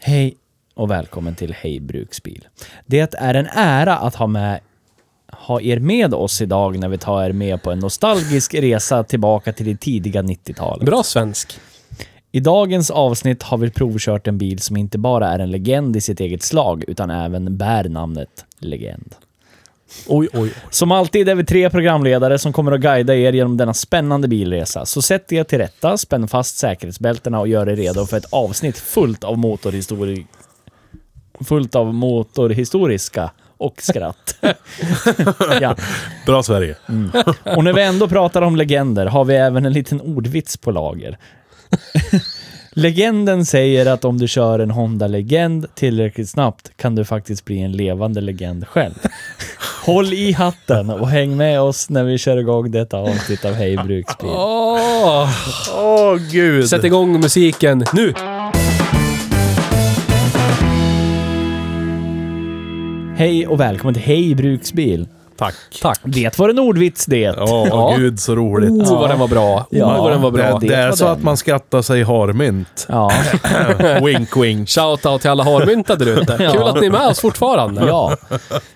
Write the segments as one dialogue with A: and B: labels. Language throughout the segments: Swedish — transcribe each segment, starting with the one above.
A: Hej och välkommen till Hej Bruksbil. Det är en ära att ha, med, ha er med oss idag när vi tar er med på en nostalgisk resa tillbaka till det tidiga 90-talet.
B: Bra svensk.
A: I dagens avsnitt har vi provkört en bil som inte bara är en legend i sitt eget slag utan även bär namnet legend.
B: Oj, oj.
A: Som alltid är vi tre programledare som kommer att guida er genom denna spännande bilresa. Så sätt er till rätta, spänn fast säkerhetsbältena och gör er redo för ett avsnitt fullt av motorhistori... Fullt av motorhistoriska och skratt. ja.
C: Bra Sverige.
A: Och när vi ändå pratar om legender har vi även en liten ordvits på lager. Legenden säger att om du kör en Honda Legend tillräckligt snabbt kan du faktiskt bli en levande legend själv. Håll i hatten och häng med oss när vi kör igång detta avsnitt av Hej Bruksbil.
B: Åh,
C: Åh gud.
B: sätt igång musiken nu!
A: Hej och välkommen till Hej Bruksbil.
C: Tack.
B: Tack.
A: Det var en ordvits det.
C: Åh gud så roligt.
B: Oh, vad den var bra.
A: Ja.
B: Oh, vad den var bra.
A: det
C: det, det är
A: var
C: så
A: den.
C: att man skrattar sig harmynt.
A: Ja,
C: wink wink.
B: Shoutout till alla harmyntade där ute. Kul att ni är med oss fortfarande.
A: ja.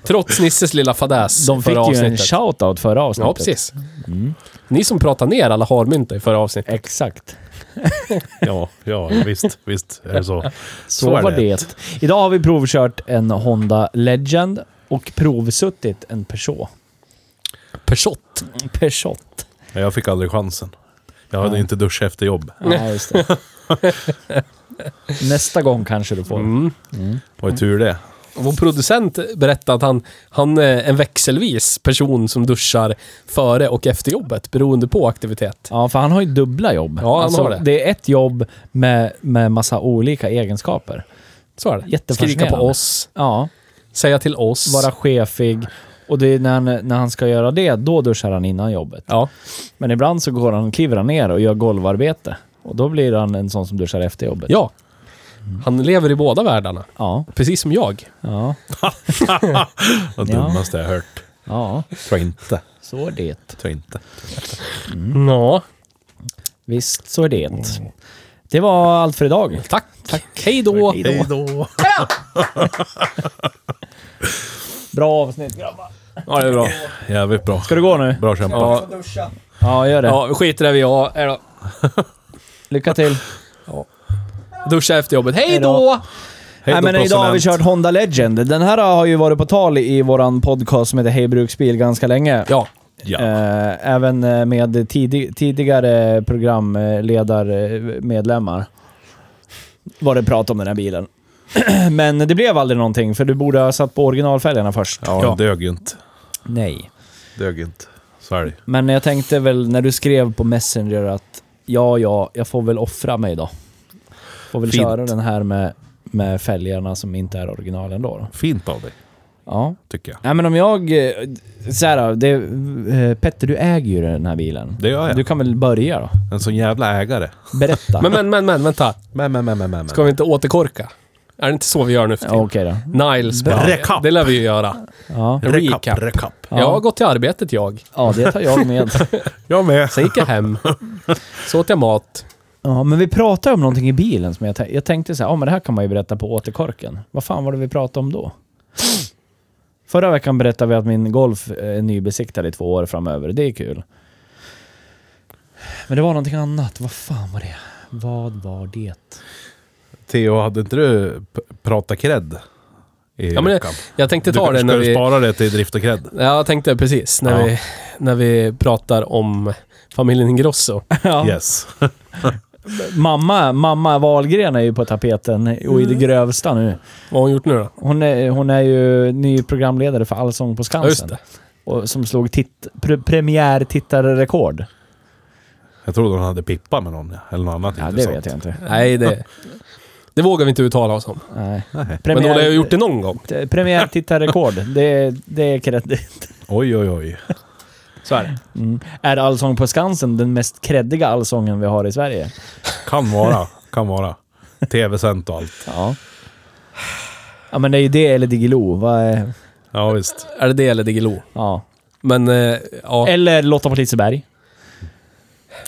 B: Trots Nisses lilla fadäs
A: De fick
B: förra
A: ju en
B: avsnittet.
A: shoutout förra avsnittet.
B: ja, precis.
A: Mm.
B: Ni som pratade ner alla harmynta i förra avsnittet.
A: Exakt.
C: Ja, ja visst, visst är det så.
A: Så var det. Idag har vi provkört en Honda Legend och provsuttit en Peugeot.
B: Persott.
A: Peugeot.
C: Men jag fick aldrig chansen. Jag hade inte dusch efter jobb.
A: Ja, just det. Nästa gång kanske du får.
B: Mm.
C: Var ju tur det.
B: Vår producent berättade att han, han är en växelvis person som duschar före och efter jobbet, beroende på aktivitet.
A: Ja, för han har ju dubbla jobb. Alltså,
B: Ja, han har det.
A: det är ett jobb med, med massa olika egenskaper.
B: Så är det. Skrika
A: Jättefascinerande.
B: på oss,
A: Ja,
B: säga till oss.
A: vara chefig. Och det är när, han- när han ska göra det, då duschar han innan jobbet.
B: Ja.
A: Men ibland så går han, kliver han ner och gör golvarbete. Och då blir han en sån som duschar efter jobbet.
B: Ja. Han lever i båda världarna.
A: Ja.
B: Precis som jag.
A: Ja.
C: Det
A: Ja.
C: dummaste jag hört.
A: Ja.
C: Tror inte.
A: Så är det.
C: Tror inte.
B: Ja.
A: Visst, så är det. Det var allt för idag.
B: Tack. Tack. Hej då.
C: Hej då.
A: Bra avsnitt grabbar.
B: Ja, det är bra.
C: Jävligt bra.
A: Ska du gå nu?
C: Bra kämpat.
B: Ja,
A: Ja, gör det.
B: ja skit i det vi gör. Hej då.
A: Lycka till.
B: Duscha efter jobbet. Hej
A: Hej då.
B: då!
C: Hej då,
A: Nej, men idag har vi
C: president.
A: kört Honda Legend. Den här har ju varit på tal i våran podcast som heter Hej Bruksbil ganska länge.
B: Ja.
C: Ja.
A: Eh, även eh, med tidig, tidigare programledarmedlemmar var det prat om den här bilen. Men det blev aldrig någonting, för du borde ha satt på originalfälgarna först.
C: Ja, dög ju inte.
A: Nej.
C: Dög inte. Så är det.
A: Men jag tänkte väl när du skrev på Messenger att ja, ja, jag får väl offra mig då. Får väl
C: Fint.
A: köra den här med, med fälgarna som inte är original ändå. Då.
C: Fint av dig,
A: Ja.
C: tycker jag.
A: Nej men om jag... eh, Så här, då, det, eh, Petter, du äger ju den här bilen.
C: Det gör jag.
A: Du kan väl börja då?
C: En sån jävla ägare.
A: Berätta.
B: Men, men, men, men, vänta.
C: Men, men, men, men, men.
B: Ska vi inte återkorka? Är det inte så vi gör nu för
A: ja,
B: tiden?
A: okej då.
B: Niles bara.
C: Recap.
B: Det lär vi ju göra.
A: Ja.
B: Recap.
C: Recap, recap.
B: Jag har gått till arbetet jag.
A: ja, det tar jag med.
C: Jag med.
B: Sen gick jag hem. Så åt jag mat.
A: Ja, men vi pratade om någonting i bilen som jag, tän- jag tänkte så här, ja men det här kan man ju berätta på återkorken. Vad fan var det vi pratade om då? Förra veckan berättade vi att min Golf är nybesiktad i två år framöver. Det är kul. Men det var någonting annat. Vad fan var det? Vad var det?
C: Theo, hade inte du p- pratat cred? I
B: Ja, men jag,
C: veckan?
B: jag tänkte
C: du,
B: ta det
C: ska
B: när
C: du
B: vi...
C: spara det till drift och cred?
B: Ja, jag tänkte precis. När,
C: Ja.
B: vi, när vi pratar om familjen Ingrosso.
A: Ja.
C: Yes.
A: mamma, mamma Wahlgren är ju på tapeten och
B: Mm.
A: i det grövsta nu.
B: Vad har hon gjort nu då?
A: Hon är, hon är ju ny programledare för Allsång på
B: Ja, just
A: Skansen.
B: det.
A: och, som slog titt, pre, premiärtittarrekord.
C: Jag trodde hon hade pippa med någon, eller något annat
A: Ja, det
C: intressant.
A: vet jag inte.
B: Nej, det... Det vågar vi inte uttala oss om.
A: Nej.
C: Nej.
B: Men
A: Premiär,
B: hon har ju gjort det någon gång.
A: t- Premiärtittarrekord. det, det är kreddigt.
C: Oj, oj, oj.
B: Så är det.
A: Mm. Är Allsång på Skansen den mest kreddiga allsången vi har i Sverige?
C: Kan vara. Kan vara. Tv-sänt och allt.
A: Ja. Ja men det är ju det eller Diggiloo. Vad är-
C: Ja, visst.
B: Är det det eller Diggiloo?
A: Ja.
B: Men, eh, ja.
A: Eller Lotta på Liseberg.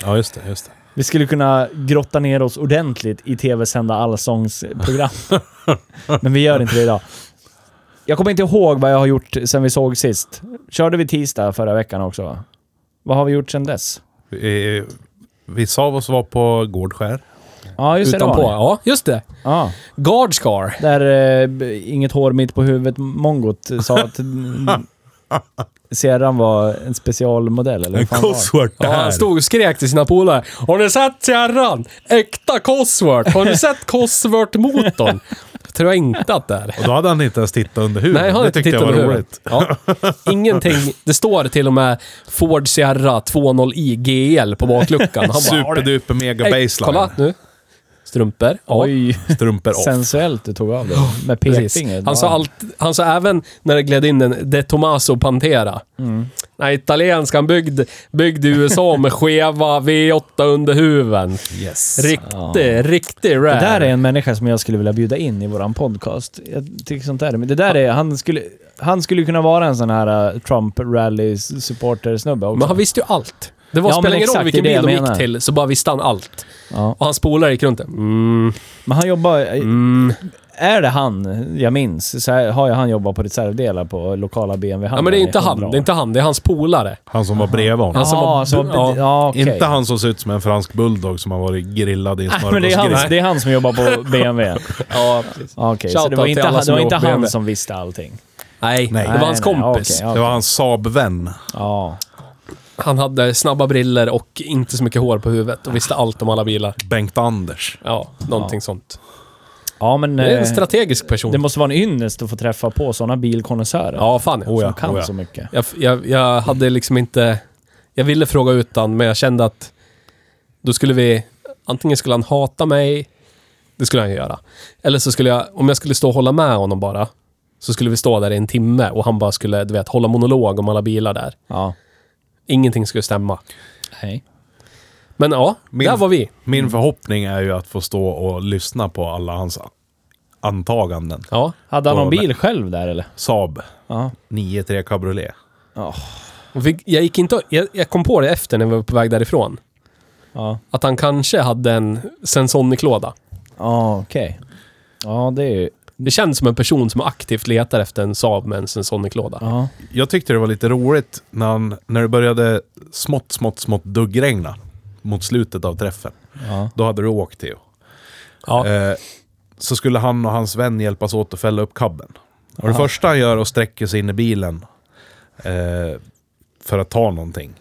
C: Ja, just det. Just det.
A: Vi skulle kunna grotta ner oss ordentligt i tv-sända allsångsprogram. Men vi gör inte det idag. Jag kommer inte ihåg vad jag har gjort sen vi såg sist. Körde vi tisdag förra veckan också? va? Vad har vi gjort sen dess?
C: Vi, vissa av oss var på Gårdskär.
A: Ja, just det.
B: Utanpå.
A: det var ni.
B: Ja, just det.
A: Ja,
B: Guardscar.
A: där eh, b- inget hår mitt på huvudet mongot sa att Sierran var en specialmodell, eller vad fan var det?
B: Ja, han
C: stod...
B: stod och skrek till sina polare. Har ni sett Sierran? Äkta Cosworth. Har ni sett Cosworth-motorn? Tror jag inte att det är.
C: Och då hade han inte ens tittat under huden.
B: Nej, jag har
C: det
B: inte
C: tyckte
B: tittat
C: jag var
B: under
C: roligt.
B: huvudet. Ja. Ingenting. Det står till och med Ford Sierra 2.0i GL på bakluckan. Han bara, "Har du-
C: Superduper mega
B: Ey,
C: baseline.
B: Kolla nu. Strumpor. Ja.
A: Oj,
C: Strumpor off.
A: sensuellt du tog av dig. Med
B: Precis.
A: pekfingret.
B: Han sa, allt, han sa även när det gled in en De Tomaso Pantera.
A: Mm.
B: Nej, italienskan byggd, byggd i USA med skeva V8 under huven.
C: Yes.
B: Riktig, riktig
A: Det
B: rare.
A: där är en människa som jag skulle vilja bjuda in i våran podcast. Jag tycker sånt där. Men det där är, han skulle, han skulle kunna vara en sån här eh, Trump rally supporter snubbe också.
B: Men han visste ju allt. Det var,
A: Ja, men
B: spelar ingen roll
A: exakt,
B: vilken
A: det är
B: bil
A: det
B: de
A: jag menar.
B: gick till, så bara visste han allt.
A: ja.
B: Och hans polare gick runt där. Mm,
A: Men han jobbar... eh,
B: mm.
A: Är det han jag minns så här, har jag han jobbat på reservdelar på lokala BMW-handeln
B: Ja, men det är inte
A: i
B: han.
A: 100 år.
B: Det är inte han. Det är hans polare.
C: Han som var bredvid honom.
A: Jaha,
B: Han som var-
A: som
B: ja.
A: var... Ja, okej.
C: Inte han som ser ut som en fransk bulldog som har varit grillad i en
A: Nej, men det är, han,
C: smörgåsgris.
A: det är han som jobbar på BMW.
B: Ja, precis.
A: Okej, så det
B: Shoutout
A: var
B: till
A: inte,
B: alla
A: han- det
B: som
A: var
B: jobbar
A: inte
B: på
A: han
B: BMW.
A: som visste allting.
B: Nej,
C: Nej.
B: det var hans
A: Nej, nej,
B: kompis.
A: okej,
C: Det
A: okej.
C: var hans Saab-vän.
A: Ja.
B: Han hade snabba briller och inte så mycket hår på huvudet och visste allt om alla bilar.
C: Bengt-Anders.
B: Ja, någonting sånt.
A: ja, men...
B: Det är en
A: eh,
B: strategisk person.
A: Det måste vara en ynnest att få träffa på sådana bilkonnässörer.
B: Ja, fan ja.
A: Som
C: ja,
A: kan
C: oh ja.
A: så mycket.
B: Jag, jag, jag hade liksom inte... Jag ville fråga utan, men jag kände att då skulle vi... Antingen skulle han hata mig, det skulle han ju göra. Eller så skulle jag, om jag skulle stå och hålla med honom bara, så skulle vi stå där i en timme och han bara skulle, du vet, hålla monolog om alla bilar där.
A: Ja.
B: Ingenting skulle stämma.
A: Nej.
B: Men ja,
C: Min-
B: där var vi.
A: Mm.
C: Min förhoppning är ju att få stå och lyssna på alla hans antaganden.
B: Ja.
A: Hade han någon
C: Och-
A: bil själv där eller?
C: Saab
A: Ja.
C: 9-3 cabriolet.
B: Och vi, jag, gick inte, jag, jag kom på det efter när vi var på väg därifrån.
A: Ja,
B: Att han kanske hade en Sensonic-låda.
A: ja okej. Ja, det är ju...
B: Det känns som en person som aktivt letar efter en Saab med en Sensonic-låda.
A: Ja.
C: Jag tyckte det var lite roligt när, han, när det började smått, smått, smått duggregna mot slutet av träffen.
A: Ja.
C: Då hade du åkt, Theo.
B: Ja.
C: Eh, så skulle han och hans vän hjälpas åt att fälla upp kabben. Och det första han gör är att sträcka sig in i bilen eh, för att ta någonting.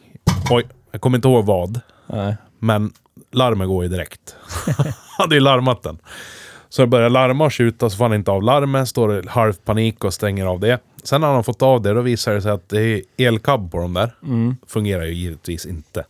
C: Oj, jag kommer inte ihåg vad.
A: Nej.
C: Men larmet går ju direkt. Han hade ju larmat den. Så det börjar larma och tjuta, så får han inte av larmet. Står i halv panik och stänger av det. Sen när han har fått av det, då visar det sig att det är elkab på dem där. Fungerar ju givetvis inte.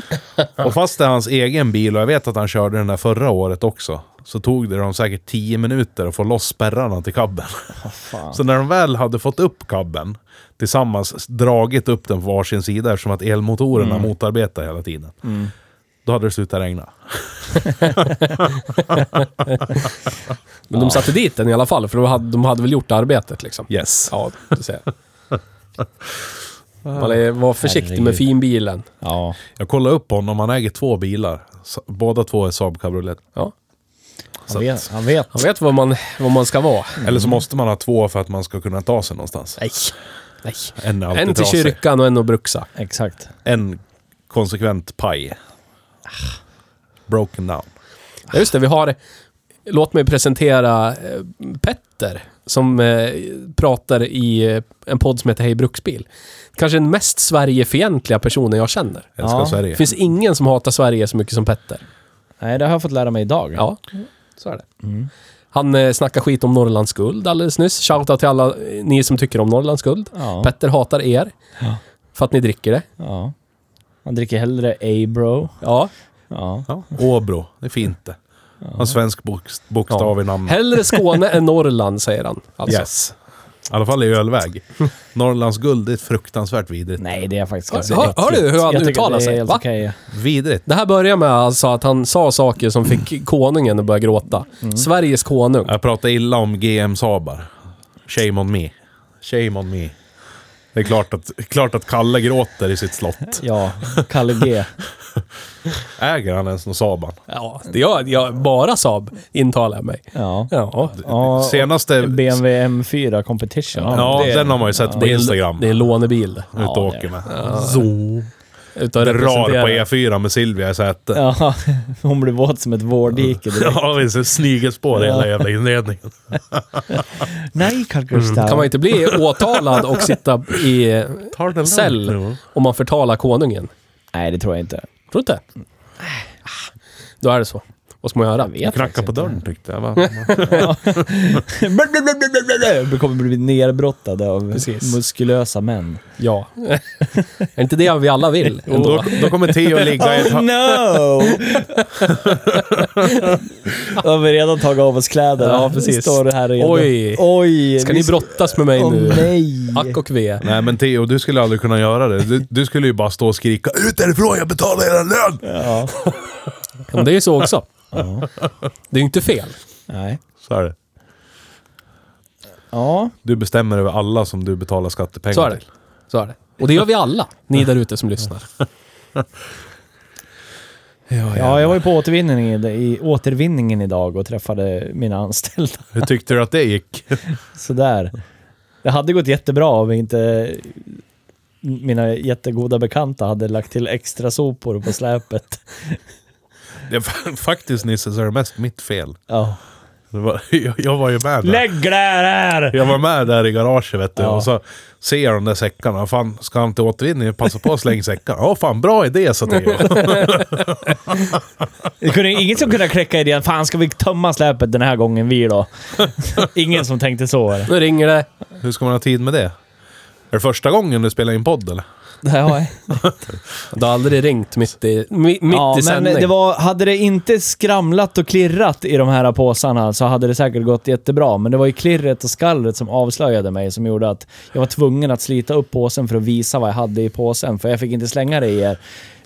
C: och fast det är hans egen bil, och jag vet att han körde den där förra året också, så tog det dem säkert 10 minuter att få loss spärrarna till kabben.
A: Fan.
C: Så när de väl hade fått upp kabben, tillsammans dragit upp den på varsin sida eftersom att elmotorerna motarbetar hela tiden. Då hade det slutat regna.
B: Men de satte dit den i alla fall, för de hade, de hade väl gjort arbetet liksom.
C: Yes.
B: Ja, du ser. Man är- var försiktig med
A: Herregud.
B: finbilen.
A: Ja.
C: Jag kollade upp honom, han äger två bilar. Sa- Båda två är Saab Cabriolet.
B: Ja.
C: Så
A: Han
C: att-
A: vet. Han vet.
B: Man vet vad man, vad man ska vara.
C: Eller så måste man ha två för att man ska kunna ta sig någonstans.
B: Nej. Nej.
C: En är alltid
B: En till
C: trasig.
B: kyrkan och en att bruxa.
A: Exakt.
C: En konsekvent paj. Broken down.
B: Ja, just det, vi har... Låt mig presentera eh, Petter, som eh, pratar i eh, en podd som heter Hej Bruksbil. Kanske den mest Sverigefientliga personen jag känner.
C: Älskar
A: Ja.
C: Sverige.
B: Det finns ingen som hatar Sverige så mycket som Petter.
A: Nej, det har jag fått lära mig idag.
B: Ja, så är det. Han eh, snackar skit om Norrlands guld alldeles nyss. Shoutout till alla eh, ni som tycker om Norrlands guld.
A: Ja.
B: Petter hatar er.
A: Ja.
B: För att ni dricker det.
A: ja. Man dricker hellre A-bro.
B: Ja.
A: Ja.
C: Ja, Åbro, det är fint det. En svensk bokst- bokstav i namnet.
B: Hellre Skåne än Norrland, säger han. Alltså.
C: Yes. I alla fall i ölväg. Norrlands guld det är fruktansvärt vidrigt.
A: Nej, det är faktiskt
B: Hör-
A: ganska
B: hör-
A: äckligt.
B: hör du hur han
A: Jag tycker
B: uttalar
A: det är
B: sig?
A: helt
B: Va?
A: okej.
C: Vidrigt.
B: Det här börjar med alltså att han sa saker som fick konungen att börja gråta. Sveriges konung.
C: Jag pratar illa om GM Sabar. Shame on me. Shame on me. Det är klart att, klart att Kalle gråter i sitt slott.
A: Ja, Kalle G.
C: Äger han ens någon Saban?
B: Ja, det jag, jag, bara Saab intalar jag mig.
A: Ja.
B: Ja.
A: Ja,
C: Senaste...
A: BMW M4 competition.
C: Ja,
B: det-
C: den har man ju sett på
B: Det är,
C: Instagram.
B: det är lånebil.
C: Ute och
A: Ja, det
C: åker
A: är-
C: med.
B: Så. Utav
C: Det Drar
B: representerar-
C: på E4 med Silvia i sätet. Ja,
A: Ja, hon blir våt som ett vårdike. direkt.
C: visst. det Snigelspår i hela
A: Ja.
C: jävla inredningen.
A: Nej, Carl Gustav.
B: Mm. Kan man inte bli åtalad och sitta i
C: Tar den lugnt
B: cell
C: nu.
B: om man förtalar konungen?
A: Nej, det tror jag inte.
B: Tror du inte? Då är det så. Vad ska man göra?
A: Äh, ah. vet
C: Knacka
A: faktiskt
C: på
A: inte.
C: dörren tyckte jag. Va?
A: Vi kommer bli nedbrottade av
B: Precis.
A: muskulösa män.
B: Ja. är inte det vi alla vill?
C: Och Då, då kommer Theo ligga i
A: Oh
C: ett... hör-
A: no! Då har vi redan tagit av oss kläderna.
B: Ja, precis.
A: Står det här redo.
B: Oj.
A: Oj!
B: Ska ni brottas med mig
A: Åh
B: nu?
A: nej!
B: Ack och ve.
C: Nej men Theo, du skulle aldrig kunna göra det. Du, du skulle ju bara stå och skrika Ut därifrån, jag betalar er lön!
A: Ja.
B: Men det är ju så också.
A: ja.
B: Det är ju inte fel.
A: Nej.
C: Så är det.
A: Ja.
C: Du bestämmer över alla som du betalar skattepengar
B: Så är det.
C: till.
B: Så är det. Och det gör vi alla, ni där ute som lyssnar.
C: Ja,
A: ja, jag var ju på återvinningen, i, återvinningen idag och träffade mina anställda.
C: Hur tyckte du att det gick?
A: Sådär. Det hade gått jättebra om inte mina jättegoda bekanta hade lagt till extra sopor på släpet.
C: Det är fa- faktiskt Nisse, så är det mest mitt fel.
A: Ja.
C: Det var, jag, jag var ju med där.
A: Lägg det här!
C: Jag var med där i garaget vet du.
A: Ja.
C: Och så ser jag de där säckarna. Fan, ska han till återvinning? Passa på att slänga säckarna. Ja, fan bra idé sa Theo.
A: Det kunde, ingen som kunde kläcka idén, fan ska vi tömma släpet den här gången vi då? ingen som tänkte så. eller?
B: Nu ringer det.
C: Hur ska man ha tid med det? Är det första gången du spelar in podd eller?
A: Ja,
B: Du har aldrig ringt mitt i, mi, mitt
A: ja,
B: i
A: men
B: sändning.
A: det var, hade det inte skramlat och klirrat i de här påsarna så hade det säkert gått jättebra. Men det var ju klirret och skallret som avslöjade mig som gjorde att jag var tvungen att slita upp påsen för att visa vad jag hade i påsen. För jag fick inte slänga det i er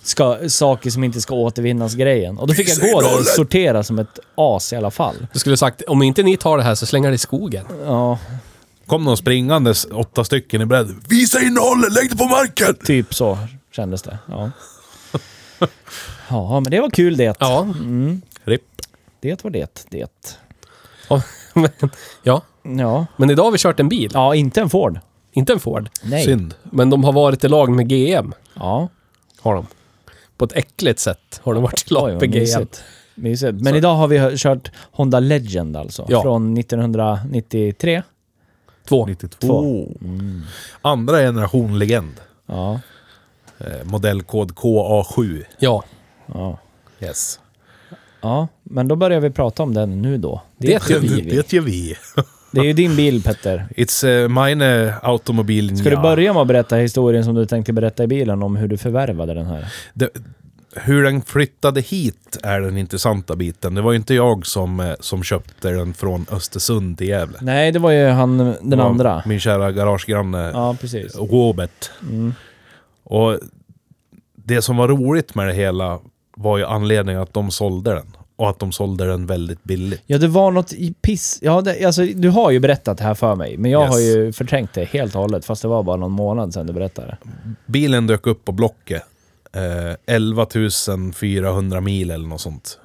A: ska, saker som inte ska återvinnas grejen. Och då fick jag gå där och sortera som ett as i alla fall.
B: Du skulle sagt, om inte ni tar det här så slänger det i skogen.
A: Ja,
C: Kom de springandes, åtta stycken i bredd. Visa innehållet, lägg det på marken!
A: typ så kändes det. Ja. Ja, men det var kul det.
B: Ja.
A: Mm.
C: Ripp.
A: Det var det. Det.
B: Ja, men, ja.
A: Ja.
B: Men idag har vi kört en bil.
A: Ja, inte en Ford.
B: Inte en Ford.
A: Nej.
C: Synd.
B: Men de har varit i lag med GM.
A: Ja.
B: Har de. På ett äckligt sätt har de varit i
A: Oj,
B: lag
A: vad
B: med GM.
A: mysigt. Mysigt. Men idag har vi hö- kört Honda Legend alltså.
B: Ja.
A: Från 1993.
B: Två.
C: 92. Mm. Andra generation legend.
A: Ja.
C: Eh, modellkod KA7.
B: Ja.
A: ja.
C: Yes.
A: Ja, men då börjar vi prata om den nu då. Det,
B: Det
A: är,
B: gör
A: ju
B: vi.
A: vi.
C: Det gör vi.
A: det är ju din bil Petter.
C: It's uh, mine uh, automobil.
A: Ska du börja med att berätta historien som du tänkte berätta i bilen om hur du förvärvade den här?
C: Det, hur den flyttade hit är den intressanta biten. Det var ju inte jag som, eh, som köpte den från Östersund till Gävle.
A: Nej, det var ju han, den
C: Det var
A: andra.
C: Min kära garagegranne
A: Ja, precis.
C: Robert. Och det som var roligt med det hela var ju anledningen att de sålde den. Och att de sålde den väldigt billigt.
A: Ja, det var något i piss... Ja, det, alltså, du har ju berättat det här för mig, men jag
C: Yes.
A: har ju förträngt det helt och hållet, fast det var bara någon månad sedan du berättade. det.
C: Bilen dök upp på Blocket. Eh, 11 400 mil eller något sånt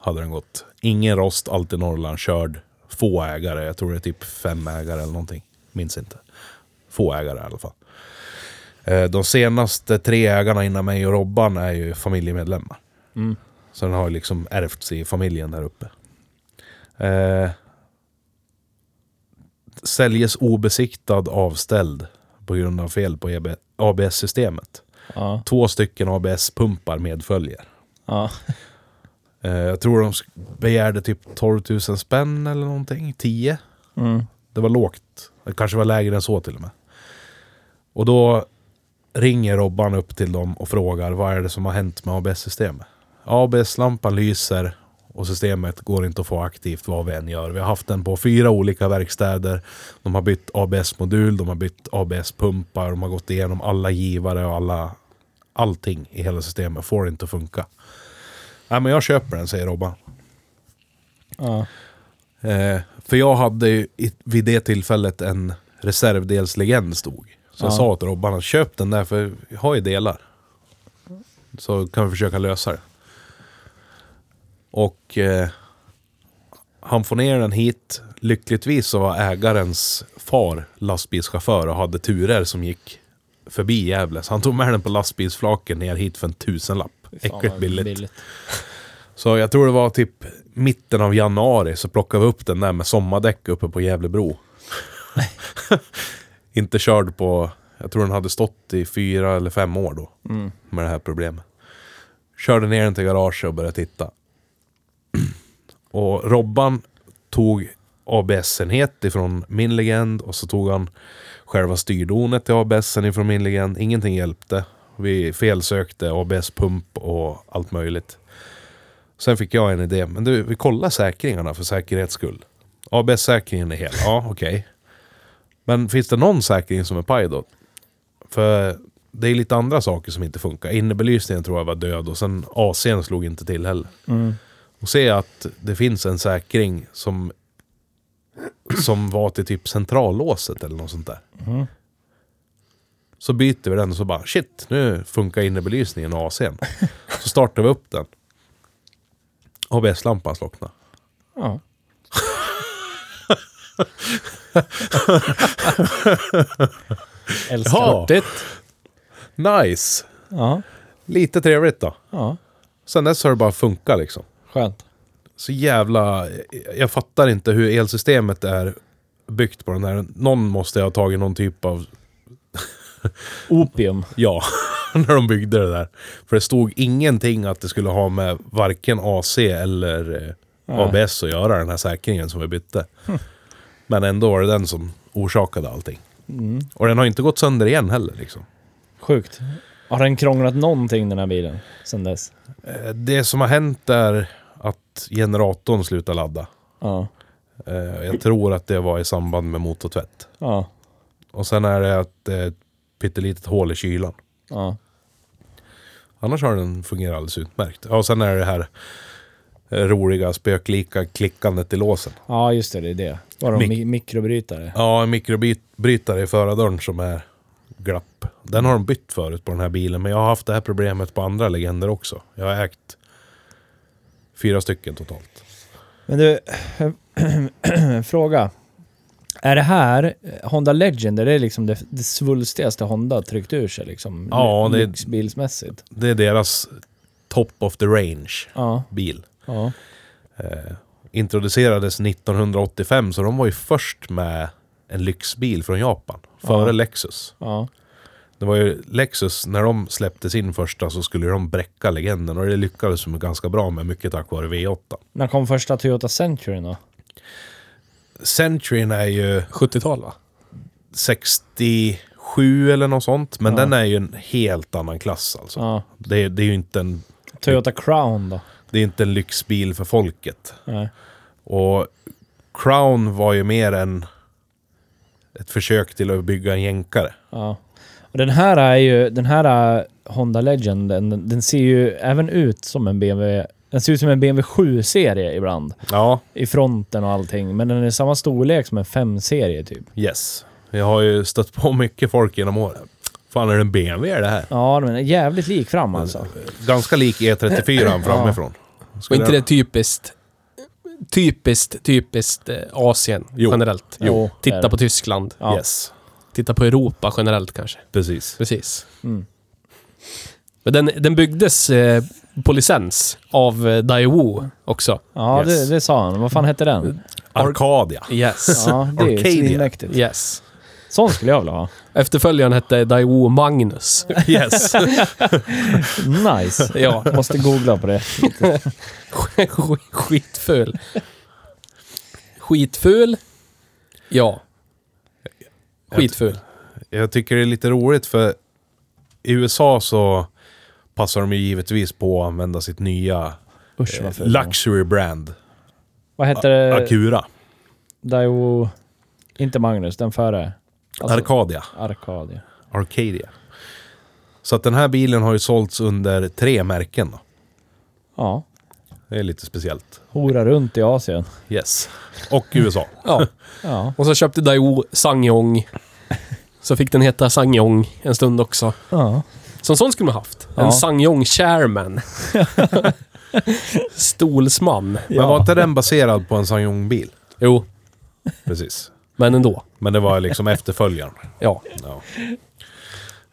C: hade den gått. Ingen rost, alltid Norrland, körd. Få ägare, jag tror det är typ fem ägare eller någonting. Minns inte. Få ägare i alla fall. Eh, de senaste tre ägarna innan mig och Robban är ju familjemedlemmar. Så den har ju liksom ärvts i familjen där uppe. Eh, säljes obesiktad avställd på grund av fel på E EB- ABS-systemet.
A: Ja,
C: Två stycken ABS-pumpar medföljer.
A: ja.
C: Eh, jag tror de sk- begärde typ 12 000 spänn eller någonting. 10.
A: Mm.
C: Det var lågt. Det kanske var lägre än så till och med. Och då ringer Robban upp till dem och frågar vad är det som har hänt med ABS-systemet. ABS-lampan lyser och systemet går inte att få aktivt vad vi än gör. Vi har haft den på fyra olika verkstäder. De har bytt ABS-modul, de har bytt ABS-pumpar, de har gått igenom alla givare och alla, allting i hela systemet. Får inte att funka. Nej men jag köper den, säger Robban.
A: Ja.
C: Eh, för jag hade ju i, vid det tillfället en reservdelslegend stod. Så jag
A: Ja.
C: sa till Robban att köp den där för jag har ju delar. Så kan vi försöka lösa det. Och eh, han får ner den hit. Lyckligtvis så var ägarens far lastbilschaufför och hade turer som gick förbi Gävle. Så han tog med den på lastbilsflaken ner hit för en tusenlapp. Äckligt billigt. Så jag tror det var typ mitten av januari så plockade vi upp den där med sommardäck uppe på Gävlebro. Inte körd på, jag tror den hade stått i fyra eller fem år då
A: Mm.
C: med det här problemet. Körde ner den till garaget och började titta. Och Robban tog ABS-enhet ifrån min legend och så tog han själva styrdonet till ABS-en ifrån min legend. Ingenting hjälpte. Vi felsökte ABS-pump och allt möjligt. Sen fick jag en idé. Men du, vi kollar säkringarna för säkerhets skull. ABS-säkringen är hel. Ja, okej. Men finns det någon säkring som är paj då? För det är lite andra saker som inte funkar. Innerbelysningen tror jag var död och sen AC'n slog inte till heller.
A: Mm.
C: Och ser jag att det finns en säkring som, som var till typ centrallåset eller något sånt där.
A: Mm.
C: Så byter vi den och så bara shit, nu funkar innerbelysningen och AC'n. Så startar vi upp den. ABS-lampan slocknar.
A: Ja. Älskar
C: Ja.
A: det.
C: Nice!
A: Ja.
C: Lite trevligt då.
A: ja.
C: Sen dess har det bara funkat liksom.
A: Skönt.
C: så jävla... Jag fattar inte hur elsystemet är byggt på den här. Någon måste ha tagit någon typ av...
A: Opium.
C: Ja, när de byggde det där. För det stod ingenting att det skulle ha med varken AC eller eh,
A: Nej. Hm.
C: ABS att göra, den här säkringen som vi bytte. Men ändå var det den som orsakade allting.
A: Mm.
C: Och den har inte gått sönder igen heller liksom.
A: Sjukt. Har den krånglat någonting den här bilen sen dess?
C: Eh, Det som har hänt är att generatorn slutar ladda.
A: Ja.
C: Eh, Jag tror att det var i samband med motortvätt.
A: Ja.
C: Och sen är det ett, ett pyttelitet hål i kylan.
A: Ja. Annars
C: Annars har den fungerat alldeles utmärkt. Ja, och sen är det det här eh, roliga spöklika klickandet i låsen.
A: Ja, just det. Det är det. Var de
C: Mik-
A: mi- mikrobrytare?
C: Ja, en mikrobrytare i förardörren som är glapp. Den har de bytt förut på den här bilen, men jag har haft det här problemet på andra legender också. Jag har ägt fyra stycken totalt.
A: Men du, fråga. Är det här eh, Honda Legend, är det liksom det, det svulstigaste Honda har tryckt ur sig liksom?
C: Ja, det-
A: Lyxbilsmässigt?
C: Det är deras top of the range-bil.
A: Ja. Ja.
C: eh, introducerades 1985, så de var ju först med en lyxbil från Japan. Före
A: Ja.
C: Lexus.
A: Ja.
C: Det var ju Lexus, när de släppte sin första så skulle de bräcka legenden och det lyckades de ganska bra med, mycket tack vare V8.
A: När kom första Toyota Century då?
C: Centuryn är ju
B: 70-tal va?
C: 67 eller något sånt, men
A: Ja.
C: den är ju en helt annan klass alltså.
A: Ja.
C: Det, det är ju inte en,
A: Toyota Crown då?
C: det är inte en lyxbil för folket.
A: Nej.
C: Och Crown var ju mer en ett försök till att bygga en jänkare.
A: Ja. Och den här är ju, den här eh, Honda Legend, den, den ser ju även ut som en BMW, den ser ut som en BMW 7-serie ibland.
C: Ja,
A: I fronten och allting, men den är samma storlek som en 5-serie typ.
C: yes. Jag har ju stött på mycket folk genom åren. Fan, är det en BMW det här?
A: Ja, den är jävligt lik fram alltså.
C: Ganska lik E34 framifrån.
B: Och
C: Skulle
B: inte det
C: jag-
B: typiskt... Typiskt, typiskt eh, Asien
C: Jo.
B: generellt.
A: Jo, det är det.
B: Titta på Tyskland.
A: Ja.
C: Yes,
B: Titta på Europa generellt kanske.
C: precis.
B: Precis.
A: Mm.
B: Men den, den byggdes eh, på licens av eh, Daewoo också.
A: Ja,
C: Yes.
A: det, det sa han. Vad fan hette den?
C: Arcadia.
B: Yes.
A: Ja, det är
C: Arcadia.
A: svinmäktigt.
B: Yes.
A: Sån skulle jag vilja ha.
B: Efterföljaren hette Daiwo Magnus.
C: Yes.
A: Nice.
B: Ja.
A: Måste googla på det.
B: Sk- Skitful. Skitful. Ja. Skitful.
C: Jag tycker det är lite roligt för i USA så passar de ju givetvis på att använda sitt nya eh,
A: Usch vad fult. Eh,
C: luxury brand.
A: Vad heter det?
C: Acura.
A: Daiwo... Inte Magnus, den före. Alltså,
C: Arcadia.
A: Arcadia.
C: Arcadia. Så att den här bilen har ju sålts under tre märken. Då.
A: Ja.
C: Det är lite speciellt.
A: Hora runt i Asien.
C: Yes. Och USA.
B: Ja.
A: Ja.
B: Och så köpte Daiwo Sangyong. Så fick den heta Sangyong en stund också.
A: ja.
B: Så en sån skulle man haft. En
A: Ja.
B: Sangyong Chairman. Stolsman.
C: Men var inte den baserad på en Sangyong-bil?
B: Jo,
C: Precis.
B: men ändå.
C: Men det var liksom efterföljaren.
B: Ja.
C: Ja.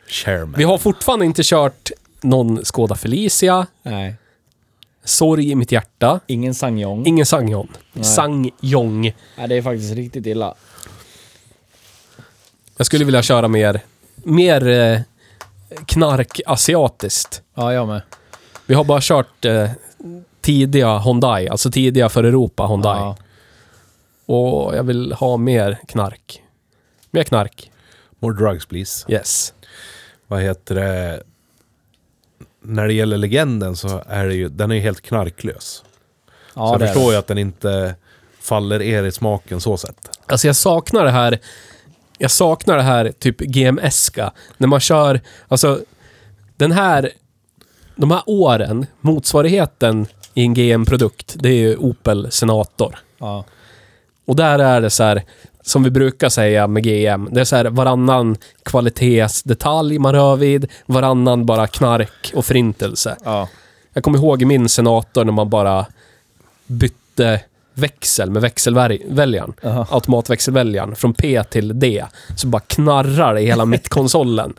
C: Chairman.
B: Vi har fortfarande inte kört någon Skoda Felicia,
A: Nej.
B: Sorg i mitt hjärta,
A: Ingen Sangyong.
B: ingen Sangyong. Sangyong.
A: Nej, det är faktiskt riktigt illa.
B: Jag skulle vilja köra mer, mer eh, knark-asiatiskt.
A: Ja, jag med.
B: Vi har bara kört eh, tidiga Hyundai, alltså tidiga för Europa Hyundai.
A: Ja.
B: Och jag vill ha mer knark. Mer knark.
C: More drugs please.
B: Yes.
C: Vad heter det? När det gäller legenden så är det ju, den är ju helt knarklös.
A: Ja,
C: så jag
A: det är
C: förstår
A: det.
C: ju att den inte faller er i smaken så sett.
B: Alltså jag saknar det här, jag saknar det här typ GMS-ka. När man kör, alltså den här, de här åren, motsvarigheten i en GM-produkt, det är ju Opel Senator.
A: Ja.
B: Och där är det så här, som vi brukar säga med GM, det är så här varannan kvalitetsdetalj man rör vid, varannan bara knark och förintelse.
A: Ja.
B: Jag kommer ihåg i min senator när man bara bytte växel med växelväljaren.
A: Aha.
B: Automatväxelväljaren. Från P till D. Så bara knarrar det i hela mittkonsolen.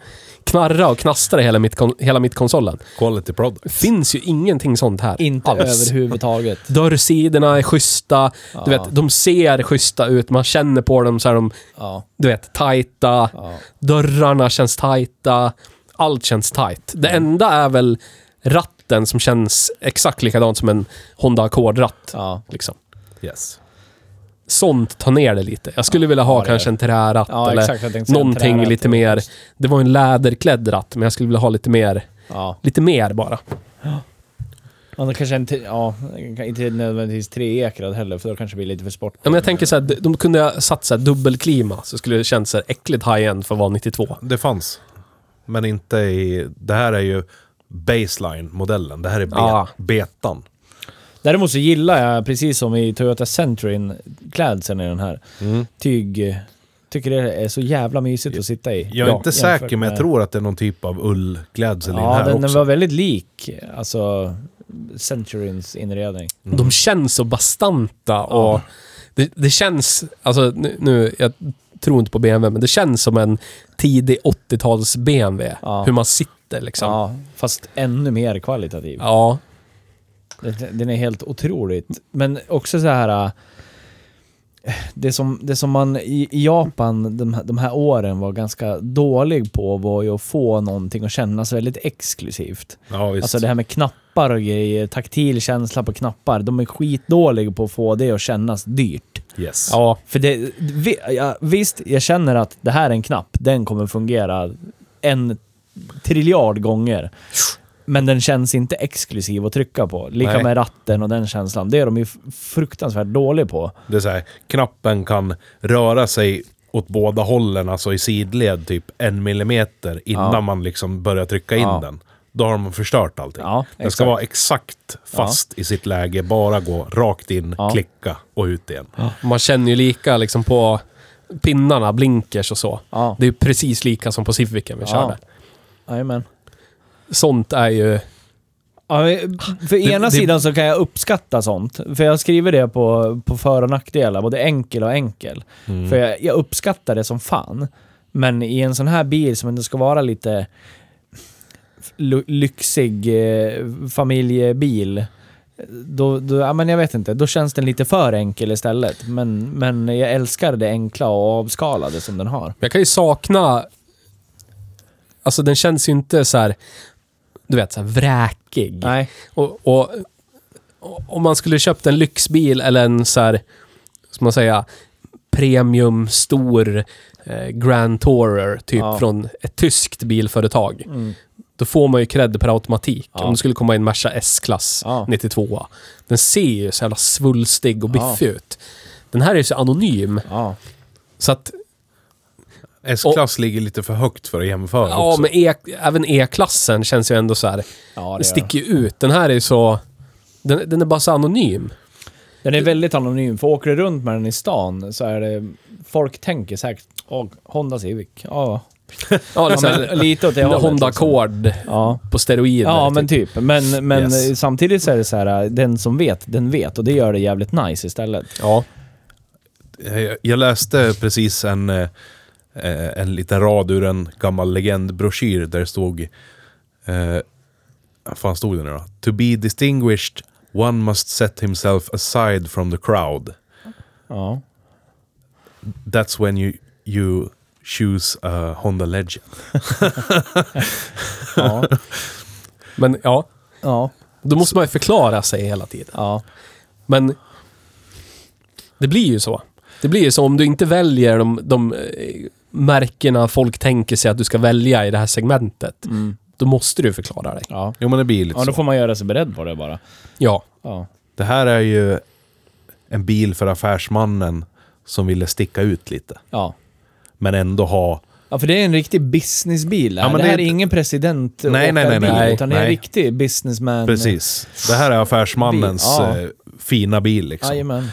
B: Knarra och knastra i hela, mittkon- hela mittkonsolen.
C: Quality product.
B: Finns ju ingenting sånt här
A: Inte
B: alls.
A: överhuvudtaget.
B: Dörrsidorna är schyssta. Du
A: Ja.
B: vet, de ser schyssta ut. Man känner på dem så här, de,
A: Ja.
B: du vet, tajta.
A: Ja.
B: Dörrarna känns tajta. Allt känns tajt. Det
A: Mm.
B: enda är väl ratten som känns exakt likadant som en Honda Accord-ratt.
A: Ja.
B: Liksom.
C: Yes.
B: Sånt tar ner det lite. Jag skulle vilja
A: Ja,
B: ha
A: det är
B: kanske
A: det.
B: en terräratt
A: Ja,
B: eller
A: exakt. Jag tänkte säga en
B: någonting
A: träratt.
B: lite mer. Det var ju en läderklädd ratt, men jag skulle vilja ha lite mer.
A: Ja.
B: Lite mer bara.
A: Ja, det kanske inte, ja, inte nödvändigtvis treekrad heller, för då kanske det blir lite för sport.
B: Ja, men jag tänker så här, de- de kunde ha satt så här dubbelklima, så skulle det kännas så här äckligt high-end för att vara 92.
C: Det fanns. Men inte i... Det här är ju baseline-modellen. Det här är be-
B: Ja.
C: betan.
A: Däremot så gillar jag, precis som i Toyota Centurin, klädseln i den här.
C: Mm.
A: Tyg... Tycker det är så jävla mysigt att sitta i.
C: Jag är
A: Ja,
C: inte
A: jämfört
C: säker, men jag
A: med-
C: tror att det är någon typ av ullklädsel i den
A: Ja,
C: här
A: den, den
C: också.
A: var väldigt lik alltså Centurins inredning.
B: De känns så bastanta och det, det känns, alltså nu, nu, jag tror inte på BMW, men det känns som en tidig 80-tals BMW.
A: Ja.
B: Hur man sitter liksom. Ja.
A: Ja, fast ännu mer kvalitativ. Den, den är helt otroligt. Men också så här... äh, Det som, det som man i, i Japan de, här- de här åren var ganska dålig på var ju att få någonting att kännas väldigt exklusivt.
C: Ja, visst.
A: Alltså det här med knappar och grejer, taktil känsla på knappar. De är skitdåliga på att få det att kännas dyrt.
C: Yes.
B: ja.
A: För det, vi, ja, visst, jag känner att det här är en knapp. Den kommer fungera en triljard gånger. Men den känns inte exklusiv att trycka på. Lika
C: Nej.
A: med ratten och den känslan. Det är de ju f- fruktansvärt dåliga på.
C: Det är så här, knappen kan röra sig åt båda hållen, alltså i sidled typ en millimeter innan
A: Ja.
C: man liksom börjar trycka in
A: Ja.
C: den. Då har man förstört allting.
A: Ja,
C: den ska
A: exakt.
C: vara exakt fast i sitt läge, bara gå rakt in,
A: Ja.
C: klicka och ut igen.
B: Man känner ju lika liksom på pinnarna, blinkers och så.
A: Ja.
B: Det är ju precis lika som på Civicen vi körde.
A: Jajamän.
B: Sånt är ju...
A: Ja, men för ena
B: det-
A: sidan så kan jag uppskatta sånt. För jag skriver det på, på för och nackdelar, både enkel och enkel.
B: Mm.
A: För jag, jag uppskattar det som fan. Men i en sån här bil som ändå ska vara lite lu- lyxig eh, familjebil Då, då, ja, men jag vet inte, då känns den lite för enkel istället. Men, men jag älskar det enkla och avskalade som den har.
B: Men Jag kan ju sakna... Alltså den känns ju inte så här... Du vet, så här vräkig.
A: Nej.
B: Och, och, och om man skulle köpt en lyxbil eller en så här... Ska man säga? Premium, stor eh, Grand Tourer, typ
A: Ja.
B: från ett tyskt bilföretag.
A: Mm.
B: Då får man ju cred per automatik.
A: Ja.
B: Om det skulle komma en Merca S-klass
A: Ja.
B: 92. Den ser ju så jävla svulstig och
A: Ja.
B: biffig ut. Den här är ju så anonym.
A: Ja.
B: Så att
C: S-klass ligger lite för högt för att jämföra
B: Ja,
C: också.
B: men e, även E-klassen känns ju ändå så här.
A: ja
B: det
A: det gör
B: sticker ju ut. Den här är ju så... Den, den är bara så anonym.
A: Den är väldigt anonym, för åker du runt med den i stan så är det... Folk tänker säkert, åh, Honda Civic, ja.
B: Ja,
A: ja
B: liksom,
A: men, lite åt det hållet.
B: Honda
A: liksom.
B: Accord
A: Ja.
B: på steroider.
A: Ja, men typ. Men, men
B: Yes.
A: samtidigt så är det så här, den som vet, den vet. Och det gör det jävligt nice istället.
B: Ja.
C: Eh, Jag- Jag läste precis en, eh, eh, en liten rad ur en gammal legendbroschyr där det stod... Eh, vad fan stod det nu då? To be distinguished, one must set himself aside from the crowd.
A: Ja.
C: That's when you, you choose a Honda Legend.
A: Ja. typ.
B: Men ja,
A: ja.
B: då måste man ju förklara sig hela tiden.
A: ja.
B: Men det blir ju så. Det blir ju så om du inte väljer de, de eh, märkena folk tänker sig att du ska välja i det här segmentet.
A: Mm.
B: Då måste du förklara dig.
A: Ja.
C: Jo, men det blir lite
A: Ja, då
C: så.
A: får man göra sig beredd på det bara.
B: Ja.
A: Ja.
C: Det här är ju en bil för affärsmannen som ville sticka ut lite.
A: Ja.
C: Men ändå ha...
A: Ja, för det är en riktig businessbil. Det här,
C: Ja, men
A: det
C: det
A: här
C: är
A: är
C: inte-
A: ingen president
C: Nej, nej, nej, nej.
A: utan det är en
C: Nej.
A: riktig businessman.
C: Precis. Det här är affärsmannens
A: eh, Bil, ja.
C: eh, fina bil liksom.
A: Jajamän.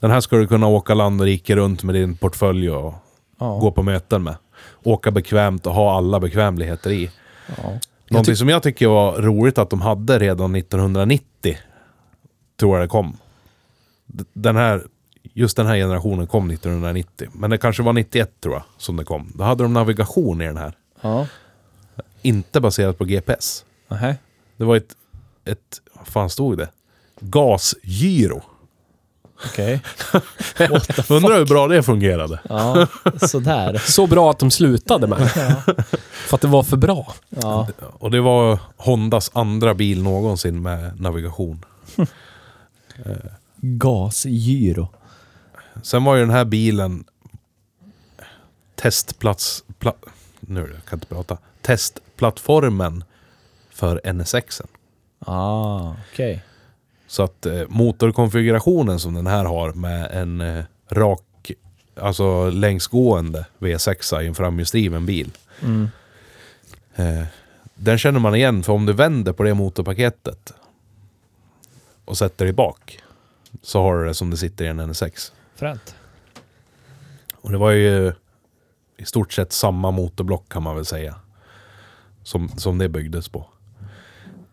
C: Den här ska du kunna åka land och rike runt med din portfölj och
A: Ja.
C: gå på möten med. Åka bekvämt och ha alla bekvämligheter i.
A: Ja.
C: Någonting som jag tycker var roligt att de hade redan 1990, tror jag det kom. D- Den här, just den här generationen kom 1990, men det kanske var 91 tror jag som det kom. Då hade de navigation i den här,
A: Ja.
C: inte baserat på GPS.
A: Nähä.
C: Det var ett, ett vad fan stod det? Gasgyro.
A: Okej.
C: Undrar hur bra det fungerade.
A: Ja, sådär.
B: Så bra att de slutade med det. För att det var för bra.
A: Ja.
C: Och det var Hondas andra bil någonsin med navigation.
A: Gasgyro.
C: Sen var ju den här bilen testplats... Pla, nu kan jag inte prata. Testplattformen för NSX-en.
A: Ah, okej.
C: Så att eh, motorkonfigurationen som den här har med en eh, rak, alltså längsgående V6 i en framhjulsdriven bil.
A: Mm.
C: Eh, den känner man igen för om du vänder på det motorpaketet och sätter det bak så har du det som det sitter i en NSX.
A: Fränt.
C: Och det var ju i stort sett samma motorblock kan man väl säga. Som, som det byggdes på.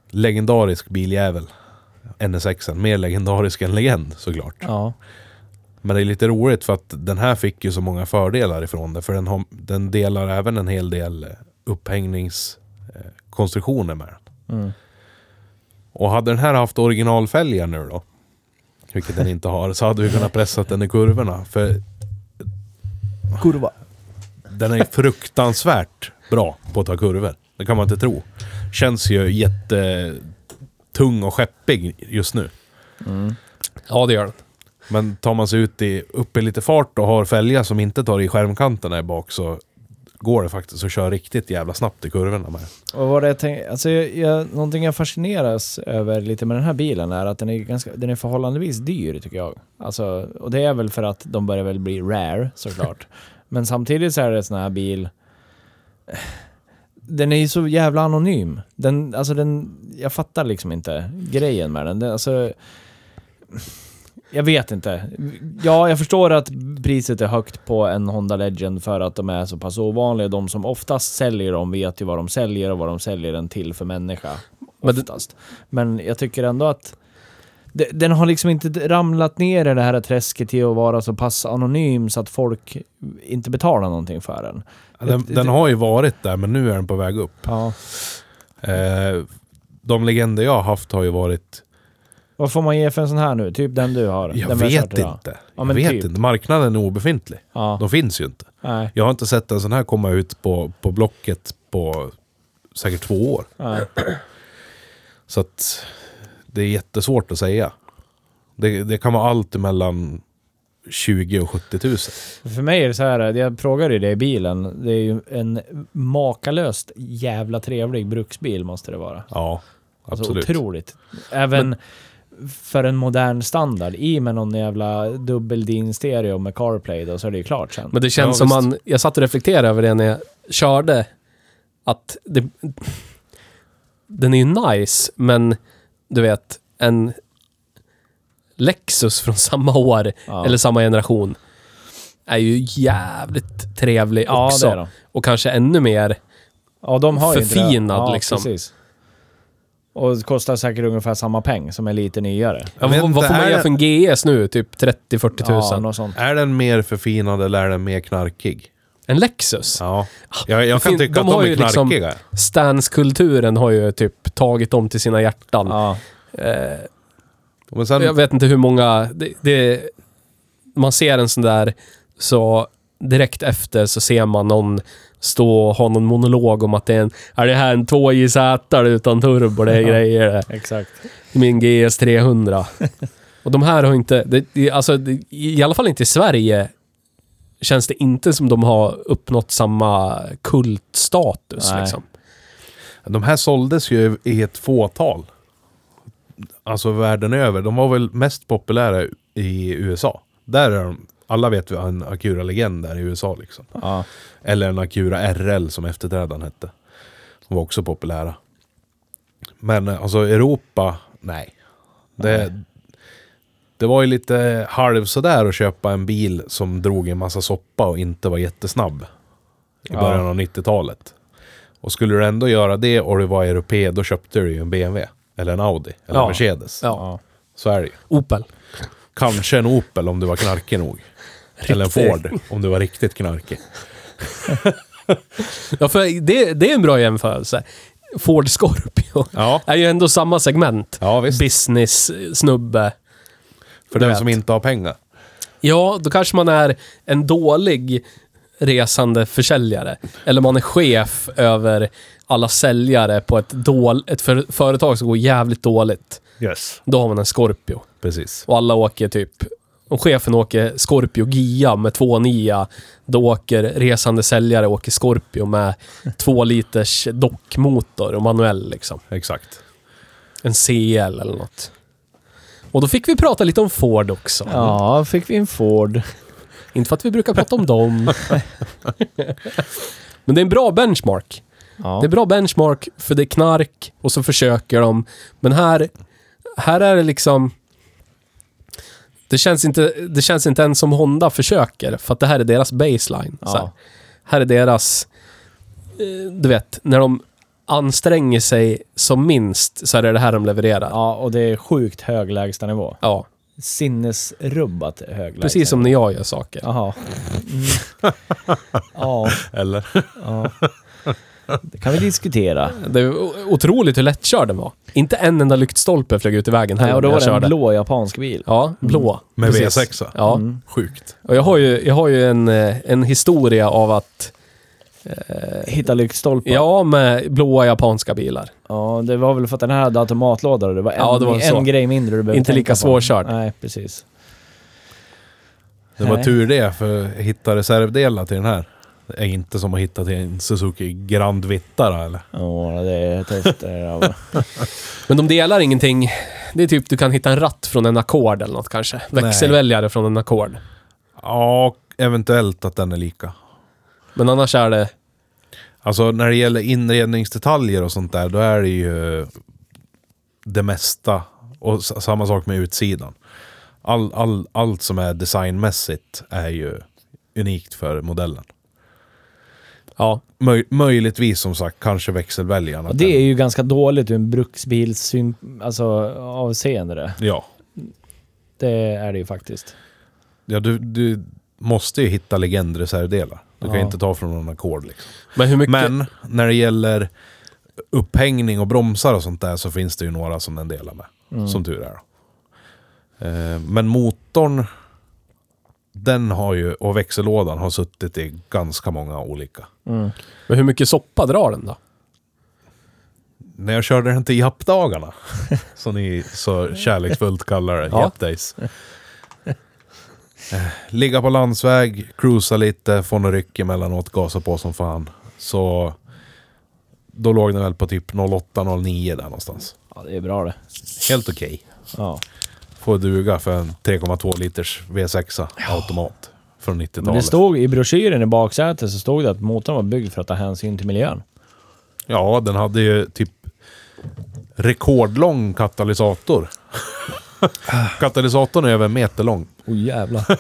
C: Legendarisk biljävel. NSX-en. Mer legendarisk än legend såklart.
A: Ja.
C: Men det är lite roligt för att den här fick ju så många fördelar ifrån det. För den, har, den delar även en hel del eh, upphängningskonstruktioner med den.
A: Mm.
C: Och hade den här haft originalfälgar nu då. Vilket den inte har. Så hade vi kunnat pressa den i kurvorna. För
A: Kurva.
C: Den är fruktansvärt bra på att ta kurvor. Det kan man inte tro. Känns ju jättetung och skeppig just nu.
B: Ja, det gör den.
C: Men tar man sig ut i, upp i lite fart och har fälgar som inte tar i skärmkanterna i bak så går det faktiskt att köra riktigt jävla snabbt i kurvorna med.
A: Och vad det jag tänk, alltså jag, jag, någonting jag fascineras över lite med den här bilen är att den är, ganska, den är förhållandevis dyr tycker jag. Alltså, och det är väl för att de börjar väl bli rare såklart. Men samtidigt så är det en sån här bil den är ju så jävla anonym. Den, alltså den, jag fattar liksom inte grejen med den. den alltså, jag vet inte. Ja, jag förstår att priset är högt på en Honda Legend för att de är så pass ovanliga. De som oftast säljer dem vet ju vad de säljer och vad de säljer den till för människa.
B: Men det-
A: Oftast. Men jag tycker ändå att de- den har liksom inte ramlat ner i det här träsket till att vara så pass anonym så att folk inte betalar någonting för den.
C: Den, den har ju varit där men nu är den på väg upp.
A: Ja.
C: Eh, de legender jag har haft har ju varit
A: Vad får man ge för en sån här nu? Typ den du har?
C: Jag
A: den vi har
C: vet
A: kört idag.
C: inte.
A: Ja,
C: Jag
A: men
C: vet
A: typ.
C: inte. Marknaden är obefintlig.
A: Ja.
C: De finns ju inte.
A: Nej.
C: Jag har inte sett en sån här komma ut på, på Blocket på säkert två år.
A: Nej.
C: Så att det är jättesvårt att säga. Det, det kan vara allt mellan 20 och 70 000.
A: För mig är det så här, jag frågade ju det i bilen. Det är ju en makalöst jävla trevlig bruksbil måste det vara.
C: Ja,
A: Alltså
C: absolut.
A: otroligt. Även för en modern standard. I med någon jävla dubbel stereo med CarPlay då så är det ju klart sen.
B: Men det känns
C: Ja,
B: som
C: visst.
B: man... Jag satt och reflekterade över det när jag körde. Att det, den är ju nice, men du vet, en Lexus från samma år,
A: Ja.
B: eller samma generation, är ju jävligt trevlig
A: ja,
B: också.
A: det är de.
B: Och kanske ännu mer.
A: Ja, de har ju inte det.
B: Förfinad,
A: ja,
B: liksom.
A: Precis. Och det kostar säkert ungefär samma peng som är lite nyare.
B: Ja,
C: vet
B: vad,
C: inte,
B: vad får man
C: är
B: göra
C: det-
B: för en GS nu? Typ 30-40
A: Ja,
B: tusen?
A: något sånt.
C: Är den mer förfinad eller är den mer knarkig?
B: en Lexus?
C: Ja. Jag, jag kan
B: fin-
C: tycka
B: de
C: att
B: har
C: de
B: ju
C: är
B: liksom-
C: knarkiga.
B: Stance-kulturen har ju typ tagit dem till sina hjärtan.
A: Ja.
B: Eh,
C: Men sen,
B: Jag vet inte hur många... Det, det, man ser en sån där, så direkt efter så ser man någon stå och ha någon monolog om att det är en... Är det här en 2JZ utan turbo? Det är
A: Ja.
B: grejer.
A: Exakt.
B: Min GS 300. och de här har inte... Det, det, alltså, det, I alla fall inte i Sverige känns det inte som de har uppnått samma kultstatus.
A: Nej.
B: Liksom.
C: de här såldes ju i ett fåtal. Alltså världen över. De var väl mest populära i USA. Där är de, alla vet vi har en Acura-legend där i USA liksom.
A: Ja.
C: Eller en Acura RL som efterträdaren hette. De var också populära. Men eh, alltså Europa, nej. Det, det var ju lite halv sådär att köpa en bil som drog en massa soppa och inte var jättesnabb. I
A: Ja.
C: början av 90-talet. Och skulle du ändå göra det och du var europé, då köpte du ju en BMW. Eller en Audi. Eller
B: Ja.
C: en Mercedes.
A: Ja.
C: Så är det ju.
B: Opel.
C: Kanske en Opel om du var knarkig nog. Eller en
B: Riktigt.
C: Ford om du var riktigt knarkig.
B: Ja, för det, det är en bra jämförelse. Ford Scorpio
C: Ja,
B: är ju ändå samma segment.
C: ja visst.
B: Business-snubbe. Du
C: För den
B: vet.
C: som inte har pengar.
B: Ja, då kanske man är en dålig resande försäljare. Eller man är chef över alla säljare på ett, dål, ett för, företag som går jävligt dåligt.
C: Yes.
B: Då har man en Scorpio.
C: Precis.
B: Och alla åker typ... Om chefen åker Scorpio GIA med 2,9, då åker resande säljare åker Scorpio med 2 liters dockmotor och manuell liksom.
C: Exakt.
B: En CL eller något. Och då fick vi prata lite om Ford också.
A: ja, fick vi en Ford.
B: Inte för att vi brukar prata om dem. Men det är en bra benchmark.
A: Ja.
B: Det är bra benchmark för det är knark och så försöker de. Men här, här är det liksom... Det känns, inte, det känns inte ens som Honda försöker, för att det här är deras baseline. Så här.
A: ja.
B: här är deras... eh, Du vet, när de anstränger sig som minst så är det det här de levererar.
A: ja, och det är sjukt hög lägstanivå.
B: Ja,
A: Sinnesrubbat hög
B: precis som när jag gör saker.
A: Jaha. Mm. ja,
C: Eller?
A: ja. Det kan vi diskutera.
B: Det var otroligt hur lättkörd den var. Inte en enda lyktstolpe flög ut i vägen heller
A: Nej, och då
B: när
A: var
B: jag
A: det en
B: körde.
A: blå japansk bil.
B: Ja, blå.
C: Med
B: Precis.
C: V6.
B: Ja,
A: Mm.
C: Sjukt.
B: och jag har ju, jag har ju en, eh, en historia av att...
A: Hitta lyktstolpar.
B: Eh, Ja, med blåa japanska bilar.
A: Ja, det var väl för att den här hade automatlåda och det var en,
B: Ja, det var så.
A: en grej mindre du behövde
B: Inte
A: tänka
B: lika
A: på.
B: svårkörd.
A: Nej, precis.
C: Det var
A: Nej.
C: tur det, för att hitta reservdelar till den här. Det är inte som att hitta till en Suzuki Grand Vitara eller?
A: Ja, det är
B: eh,
A: tester.
B: Men de delar ingenting. Det är typ du kan hitta en ratt från en Accord eller något kanske. Växelväljare från en Accord.
C: Ja, eventuellt att den är lika.
B: Men annars är det...
C: Alltså när det gäller inredningsdetaljer och sånt där, då är det ju det mesta. Och s- samma sak med utsidan. All, all, allt som är designmässigt är ju unikt för modellen.
B: Ja,
C: Möj, möjligtvis som sagt, kanske växelväljarna.
A: Och det är ju ganska dåligt ur en bruksbils alltså, avseende. Det.
C: Ja.
A: det är det ju faktiskt.
C: Ja, du, du måste ju hitta legendreservdelar. Du kan ju
A: Ja.
C: inte ta från någon ackord. Liksom.
B: men hur mycket...
C: Men när det gäller
B: Mm.
C: upphängning och bromsar och sånt där så finns det ju några som den delar med. Som tur är. Då. Eh, Men motorn, den har ju, och växellådan har suttit i ganska många olika.
B: Men hur mycket soppa drar den då?
C: När jag körde den till jappdagarna, som ni så kärleksfullt kallar det,
B: Ja.
C: jappdays. Eh, Ligga på landsväg, cruisa lite, få några ryck emellanåt, gasa på som fan. Så då låg den väl på typ 08-09 där någonstans.
A: Ja, det är bra det.
C: Helt okej.
A: Ja.
C: Får duga för en 3,2 liters V6 automat från
A: Men det
C: 90-talet.
A: stod i broschyren i baksätet så stod det att motorn var byggd för att ta hänsyn till miljön.
C: Ja, den hade ju typ rekordlång katalysator. Katalysatorn är över en meter lång.
A: Åh oh, jävlar.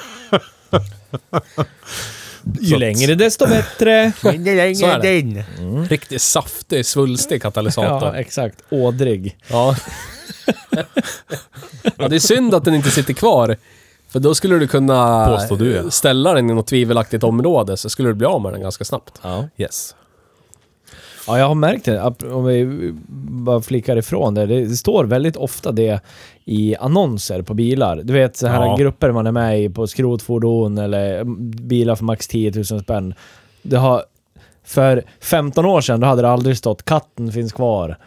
A: Ju längre desto bättre.
B: Så är det.
C: Mm.
B: Riktigt saftig, svulstig
A: ja,
B: katalysator.
A: exakt. Ådrig.
B: Ja. ja, det är synd att den inte sitter kvar. För då skulle du kunna
C: Påstår du, ja.
B: ställa den i något tvivelaktigt område så skulle du bli av med den ganska snabbt.
A: Ja.
C: Yes.
A: Ja, jag har märkt det. Ap- Om vi bara flickar ifrån det. Det står väldigt ofta det i annonser på bilar. Du vet så här
C: Ja.
A: grupper man är med i på skrotfordon eller mm, bilar för max 10 000 spänn. Det har, för 15 år sedan då hade det aldrig stått katten finns kvar.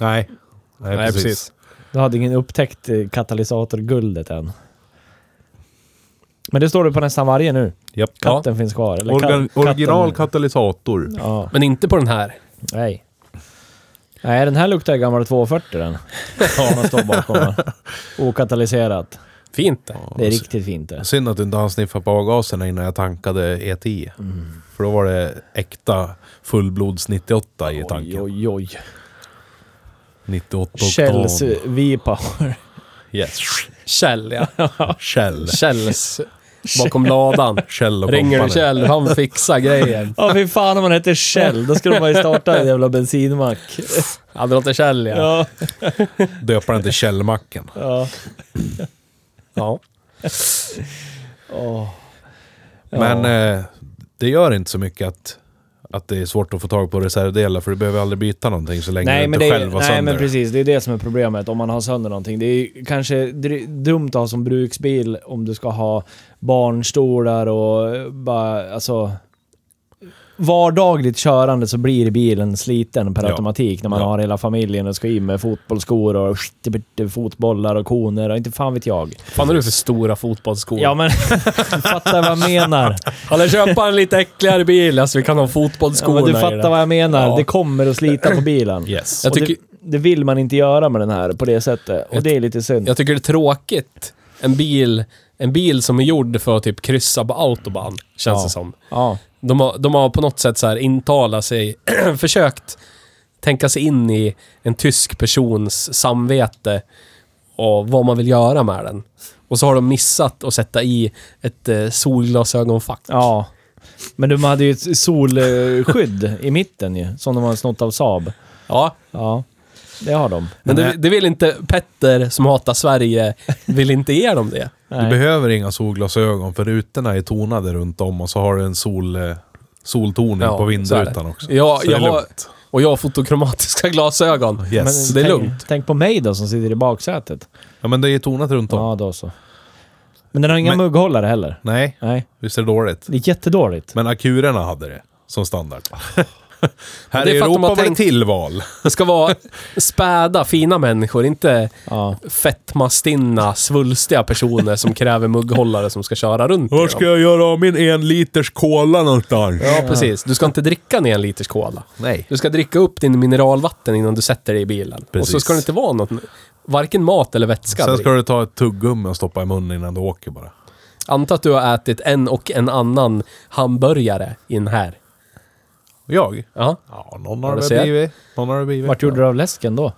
C: Nej. Nej, precis.
A: Då hade ingen upptäckt eh, katalysatorguldet än. Men det står det på nästan varje nu.
C: Japp.
B: Ja.
A: Katten finns kvar. Eller
C: Organ,
A: ka-
C: original
A: katten.
C: katalysator.
A: Ja,
B: Men inte på den här.
A: nej. Nej, den här luktar gammal 240 den. Ja, man står bakom den. Okatalyserat.
B: Fint det.
A: Det är riktigt fint det.
C: Synd att du inte hann sniffa på avgaserna innan jag tankade E10.
A: Mm.
C: För då var det äkta fullblods 98 i
A: Oj,
C: tanken.
A: oj, oj.
C: 98 oktan.
A: Shells V-power.
C: Yes.
B: Kjell, ja.
C: Shell.
B: Kjells bakom ladan.
C: Shell och
B: Ringer du
C: company.
B: Kjell, han fixar grejer.
A: Ja, fy fan om man heter Shell. Då skulle man ju starta en jävla bensinmack.
B: Ja, det låter Kjell, ja.
A: Ja.
C: Döpa den till Kjellmacken.
A: ja.
B: ja.
A: Åh. Ja.
C: Men eh, det gör inte så mycket att, att det är svårt att få tag på reservdelar för du behöver aldrig byta någonting så länge du
A: Nej, men
C: inte
A: det
C: själv
A: är,
C: har
A: nej
C: sönder.
A: men precis, det är det som är problemet om man har sönder någonting. Det är ju kanske dr- dumt att ha som bruksbil om du ska ha barnstolar och bara alltså... Vardagligt körande så blir bilen sliten per
C: Ja.
A: automatik när man
C: Ja.
A: har hela familjen och ska in med fotbollsskor och skittibitte fotbollar och koner och inte fan vet jag.
B: Fan har du för stora fotbollsskor?
A: Ja men, fattar vad jag menar.
B: Ja, eller köpa en lite äckligare bil, alltså vi kan ha
A: Ja,
B: fotbollsskorna
A: men du
B: i
A: fattar
B: den.
A: vad jag menar.
B: Ja.
A: Det kommer att slita på bilen.
C: Yes.
B: Jag
A: Och
B: tycker,
A: det, det vill man inte göra med den här på det sättet. Och
B: Jag-
A: det är lite synd.
B: jag tycker det är tråkigt. En bil, en bil som är gjord för att typ kryssa på autobahn, känns
A: Ja.
B: det som.
A: Ja.
B: De har, de har på något sätt så här intalat sig, försökt tänka sig in i en tysk persons samvete och vad man vill göra med den. Och så har de missat att sätta i ett eh, solglasögonfack.
A: Ja. Men de hade ju ett solskydd i mitten ju, som de har snott av Saab.
B: Ja,
A: Ja, det har de.
B: men det, det vill inte Petter som hatar Sverige, vill inte ge dem det.
C: Du
A: Nej.
C: behöver inga solglasögon för rutorna är tonade runt om och så har du en sol, eh, soltoning
B: Ja,
C: på
B: så är
C: vindrutan
B: det.
C: också.
B: Ja,
C: så
B: jag
C: det är
B: har,
C: lugnt.
B: och jag har fotokromatiska glasögon.
C: Yes.
B: det är
A: tänk,
B: lugnt.
A: Tänk på mig då som sitter i baksätet.
C: Ja, men det är tonat runt om.
A: Ja, då så. Men den har inga
C: Men-
A: mugghållare heller.
C: Nej,
A: Nej,
C: visst är det dåligt.
A: det är jättedåligt.
C: Men akurerna hade det som standard. Här
B: det är
C: i
B: för att de
C: Europa
B: har
C: var det
B: tänkt-
C: tillval.
B: Det ska vara späda, fina människor, inte
A: Ja.
B: fetmastinna, svulstiga personer som kräver mugghållare som ska köra runt i
C: Var
B: dem.
C: ska jag göra av min en liters cola någonstans?
B: Ja, precis. Du ska inte dricka ner en liters cola.
C: Nej.
B: Du ska dricka upp din mineralvatten innan du sätter dig i bilen. Och så
C: Precis.
B: ska det inte vara något, varken mat eller vätska.
C: Sen
B: direkt.
C: ska du ta ett tuggummi och stoppa i munnen innan du åker bara.
B: Anta att du har ätit en och en annan hamburgare in här.
C: Jag?
B: Ja.
C: Ja, någon
B: Ja,
C: har
B: du
C: det
B: ser.
C: blivit. Någon har det blivit.
A: Vart gjorde du av läsken då?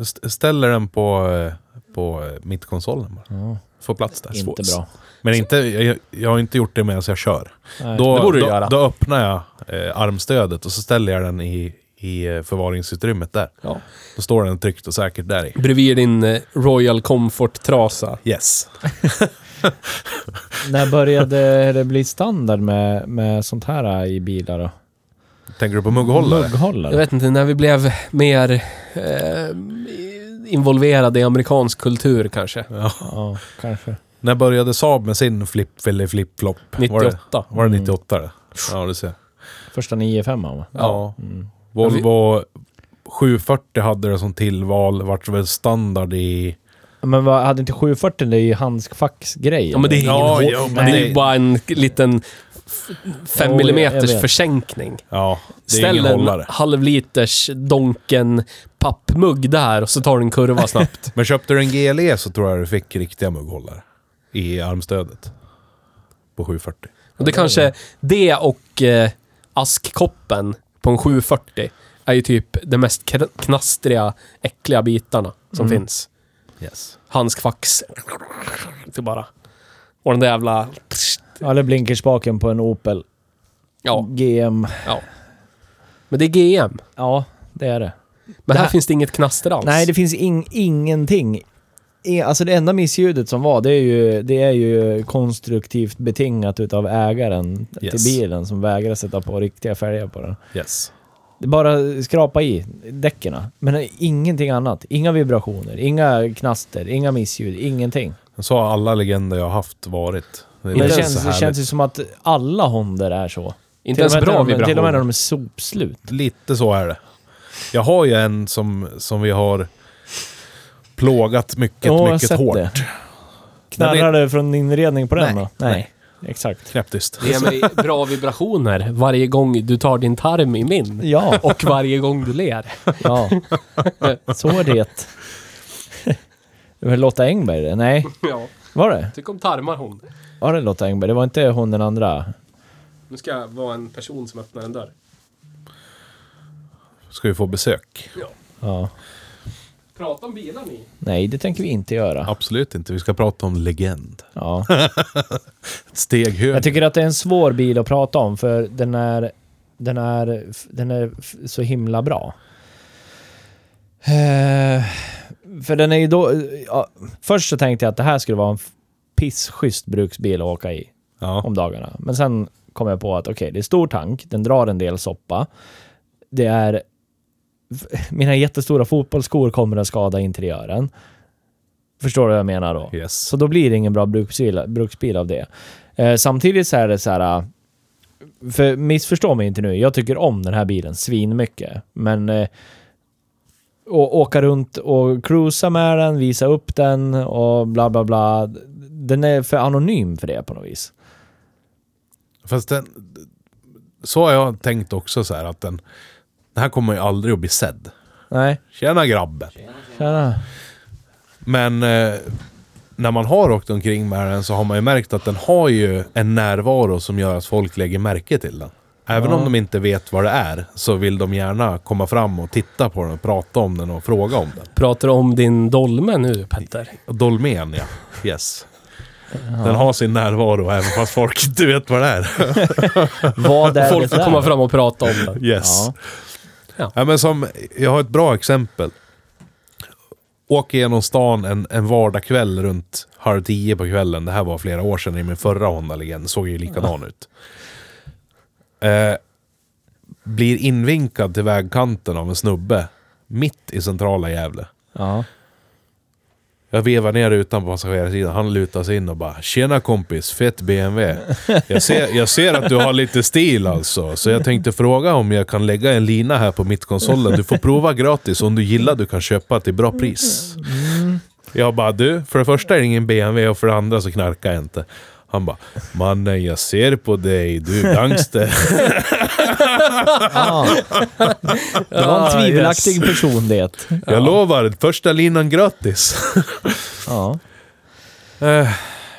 C: St- ställer den på, eh, på eh, mittkonsolen bara. Får plats där.
A: Inte
C: Svår-
A: bra.
C: Men inte, jag, jag har inte gjort det medan jag kör.
A: Nej.
C: Då,
B: Det borde du
C: då,
B: göra.
C: då öppnar jag eh, armstödet och så ställer jag den i, i eh, förvaringsutrymmet där.
B: ja.
C: Då står den tryggt och säkert där i.
B: Bredvid din eh, Royal Comfort-trasa.
C: Yes.
A: När började det bli standard med, med sånt här i bilar då?
C: Tänker du på mugghållare?
A: Mugghållare?
B: Jag vet inte, när vi blev mer eh, involverad i amerikansk kultur kanske.
A: Ja, kanske.
C: När började Saab med sin flipp eller flippflop? Var det,
B: 98.
C: var det 98? Det? Ja, du ser.
A: Första 9-5 va? Mm.
C: Ja. Volvo 740 hade det som tillval, vart väl standard i...
A: Men vad, hade inte 740 det i handskfacksgrej?
B: Ja, men det är ingen
C: Ja,
B: hår-
C: ja,
B: men
C: men
B: det är
C: det-
B: ju bara en liten
A: Jo,
B: 5
A: jag- jag
B: millimeters
A: vet.
B: försänkning.
C: Ja, det är
B: Ställ
C: ingen
B: en
C: hållare.
B: halvliters donken pappmugg där och så tar du en kurva snabbt.
C: Men köpte du en GLE så tror jag du fick riktiga mugghållare. I armstödet. På 740.
B: Och det kanske, det och eh, askkoppen på en 740 är ju typ de mest kn- knastriga, äckliga bitarna som finns.
C: Yes.
B: Handskfax. Det bara. Och den där jävla...
A: Ja, Eller blinkerspaken på en Opel.
B: Ja,
A: GM.
B: ja. Men det är GM.
A: Ja, det är det.
B: Men
A: Det
B: här,
A: här-
B: finns det inget knaster alls.
A: Nej, det finns ing- ingenting. E- Alltså det enda missljudet som var, det är ju, det är ju konstruktivt betingat utav ägaren
C: Yes.
A: till bilen som vägrar sätta på riktiga fälgar på den.
C: Yes.
A: Det är bara skrapa i däcken. Men ingenting annat. Inga vibrationer, inga knaster, inga missljud, ingenting.
C: Så har alla legender jag haft varit. Det,
A: Det
C: är
A: känns,
C: så
A: det känns
C: härligt.
A: ju som att alla Honder är så. Till
B: Inte
A: och
B: ens
A: med när
B: bra
A: de- Till och med när
B: vibrationer.
A: de är sopslut.
C: Lite så är det. Jag har ju en som, som vi har plågat mycket,
A: Ja, jag har
C: mycket
A: sett
C: hårt.
A: det. Knarrar det från inredning på den
C: Nej,
A: då? Nej. Exakt.
C: Knäpptyst.
B: Ge mig bra vibrationer varje gång du tar din tarm i min.
A: Ja,
B: Och varje gång du ler.
A: ja. Så är det. Det var Lotta Engberg det? Nej,
B: Ja,
A: var det?
B: tycker om tarmar hon.
A: Var det Lotta Engberg? Det var inte hon den andra?
B: Nu ska jag vara en person som öppnar en dörr.
C: Ska vi få besök?
A: Ja.
B: Prata om bilar ni.
A: Nej, det tänker vi inte göra.
C: Absolut inte. Vi ska prata om legend.
A: Ja.
C: Ett steg högre.
A: Jag tycker att det är en svår bil att prata om för den är, den är, den är f- så himla bra. Eh, för den är ju då... Ja, först så tänkte jag att det här skulle vara en f- pissschysst bruksbil att åka i
C: ja.
A: om dagarna. Men sen kom jag på att okej, det är stor tank, den drar en del soppa. Det är... f- Mina jättestora fotbollsskor kommer att skada interiören. Förstår du vad jag menar då?
C: Yes.
A: Så då blir det ingen bra bruksbil, bruksbil av det. Eh, samtidigt så är det så här... eh, För missförstå mig inte nu, jag tycker om den här bilen svinmycket. Men... Eh, och åka runt och cruisa med den, visa upp den och bla bla bla. Den är för anonym för det på något vis.
C: Fast den, så har jag tänkt också så här att den, den här kommer ju aldrig att bli sedd.
A: Nej,
C: Tjena grabben!
A: tjena.
C: Men eh, när man har åkt omkring med den så har man ju märkt att den har ju en närvaro som gör att folk lägger märke till den. Även om de inte vet vad det är så vill de gärna komma fram och titta på den och prata om den och fråga om den.
B: Pratar du om din dolme nu Petter?
C: Dolmen ja. Yes. Den har sin närvaro även fast folk inte vet vad det är.
A: Vad är
B: Folk
A: det där?
B: får komma fram och prata om den.
C: Yes.
A: Ja.
B: Ja.
C: Ja. men som, jag har ett bra exempel. Åker genom stan en, en vardagkväll runt halv tio på kvällen. Det här var flera år sedan i min förra Honda Legend. Såg ju likadan ut. Eh, blir invinkad till vägkanten av en snubbe. Mitt i centrala Gävle.
A: Ja.
C: Jag vevar ner utan på passagerarsidan. Han lutar sig in och bara “Tjena kompis, fett BMW. Jag ser, jag ser att du har lite stil alltså, så jag tänkte fråga om jag kan lägga en lina här på mittkonsolen. Du får prova gratis. Om du gillar du kan köpa till bra pris.” Jag bara “Du, för det första är det ingen BMW och för det andra så knarkar jag inte.” Han bara “Mannen, jag ser på dig. Du är gangster.”
A: Ah. Det var en
B: Ah,
A: tvivelaktig person det.
C: Jag lovar, första linan gratis.
A: Ja.
C: Eh,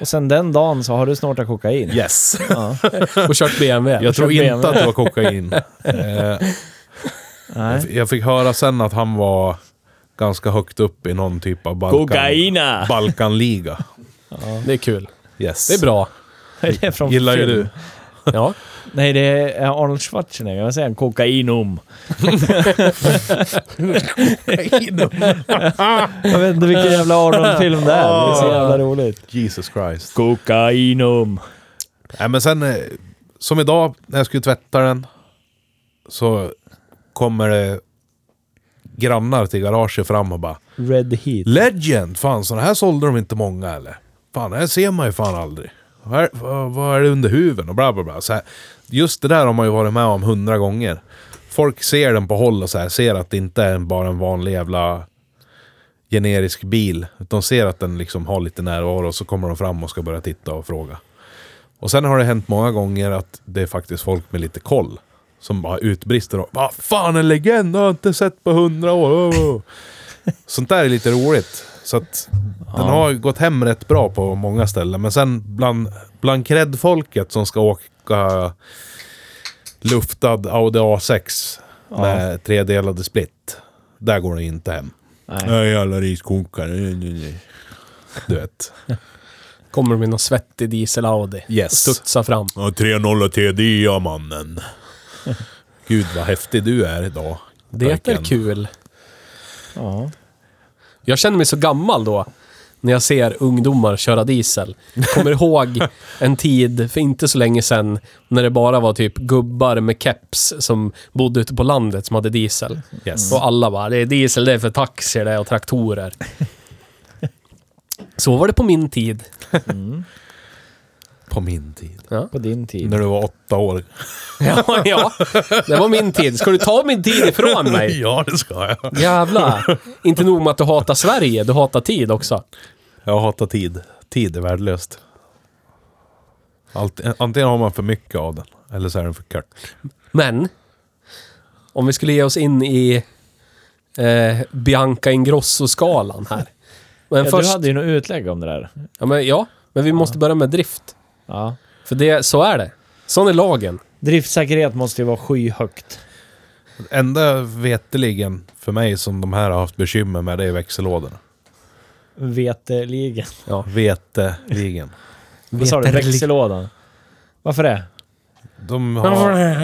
A: Och sen den dagen så har du snortat kokain.
C: yes.
A: Ja.
B: Och kört BMW.
C: Jag tror
A: kör
C: inte
A: BMW.
C: att det var kokain. Eh,
A: Nej.
C: Jag fick höra sen att han var ganska högt upp i någon typ av Balkan,
A: Kokaina!
C: Balkanliga.
B: Det är kul.
C: Yes.
B: Det är bra.
A: Vad är det från
C: Gillar ju
A: film?
C: du.
B: Ja.
A: Nej, det är eh, Arnold Schwarzenegger. Vad säger han? Kokainum. Jag vet inte vilken jävla Arnold-film det är. Det är så jävla roligt.
C: Jesus Christ.
A: Kokainum.
C: Nej, men sen, eh, som idag när jag skulle tvätta den, så kommer det grannar till garaget fram och bara
A: Red Heat.
C: Legend! Fan, sådana här sålde de inte många eller? Fan, det här ser man ju fan aldrig. Vad är, vad, vad är det under huven? Och bla bla bla. Så här, just det där har man ju varit med om hundra gånger. Folk ser den på håll och så här, ser att det inte är en- bara en vanlig jävla generisk bil. De ser att den liksom har lite närvaro och så kommer de fram och ska börja titta och fråga. Och sen har det hänt många gånger att det är faktiskt folk med lite koll som bara utbrister och Vad fan en legend! Jag har inte sett på hundra år! Oh. Sånt där är lite roligt. Så att den har gått hem rätt bra på många ställen. Men sen bland, bland kreddfolket som ska åka luftad Audi A6 med tredelade split. Där går det inte hem.
A: Nej.
C: Nej, jävla riskokare. Du vet.
B: Kommer de in och svettig diesel-Audi.
C: Yes.
B: Och studsar fram.
C: Ja, 3-0 TD, ja mannen. Gud vad häftig du är idag.
B: Det är
C: Pojken.
B: kul.
A: Ja.
B: Jag känner mig så gammal då. När jag ser ungdomar köra diesel. Kommer ihåg en tid för inte så länge sedan. När det bara var typ gubbar med keps som bodde ute på landet som hade diesel.
C: Yes.
B: Och alla bara, det är diesel, det är för taxier det är och traktorer. Så var det på min tid.
C: På min tid.
A: På din tid.
C: När du var åtta år.
B: Ja, ja. Det var min tid. Ska du ta min tid ifrån mig?
C: Ja, det ska jag.
B: Jävlar. Inte nog med att du hatar Sverige, du hatar tid också.
C: Jag hatar tid. Tid är värdelöst. Allt, antingen har man för mycket av den, eller så är den för kort.
B: Men, om vi skulle ge oss in i eh, Bianca Ingrosso-skalan här. Men
A: Ja,
B: först...
A: Du hade ju något utlägg om det där.
B: Ja, men, ja, men vi måste börja med drift.
A: Ja.
B: För det, så är det. Sån är lagen.
A: Driftsäkerhet måste ju vara skyhögt.
C: Enda veteligen för mig som de här har haft bekymmer med, det är växellådorna.
A: Veteligen.
C: Veteligen.
A: Vad sa du?
B: Vetelig-
A: Växellådan? Varför det?
C: De har... De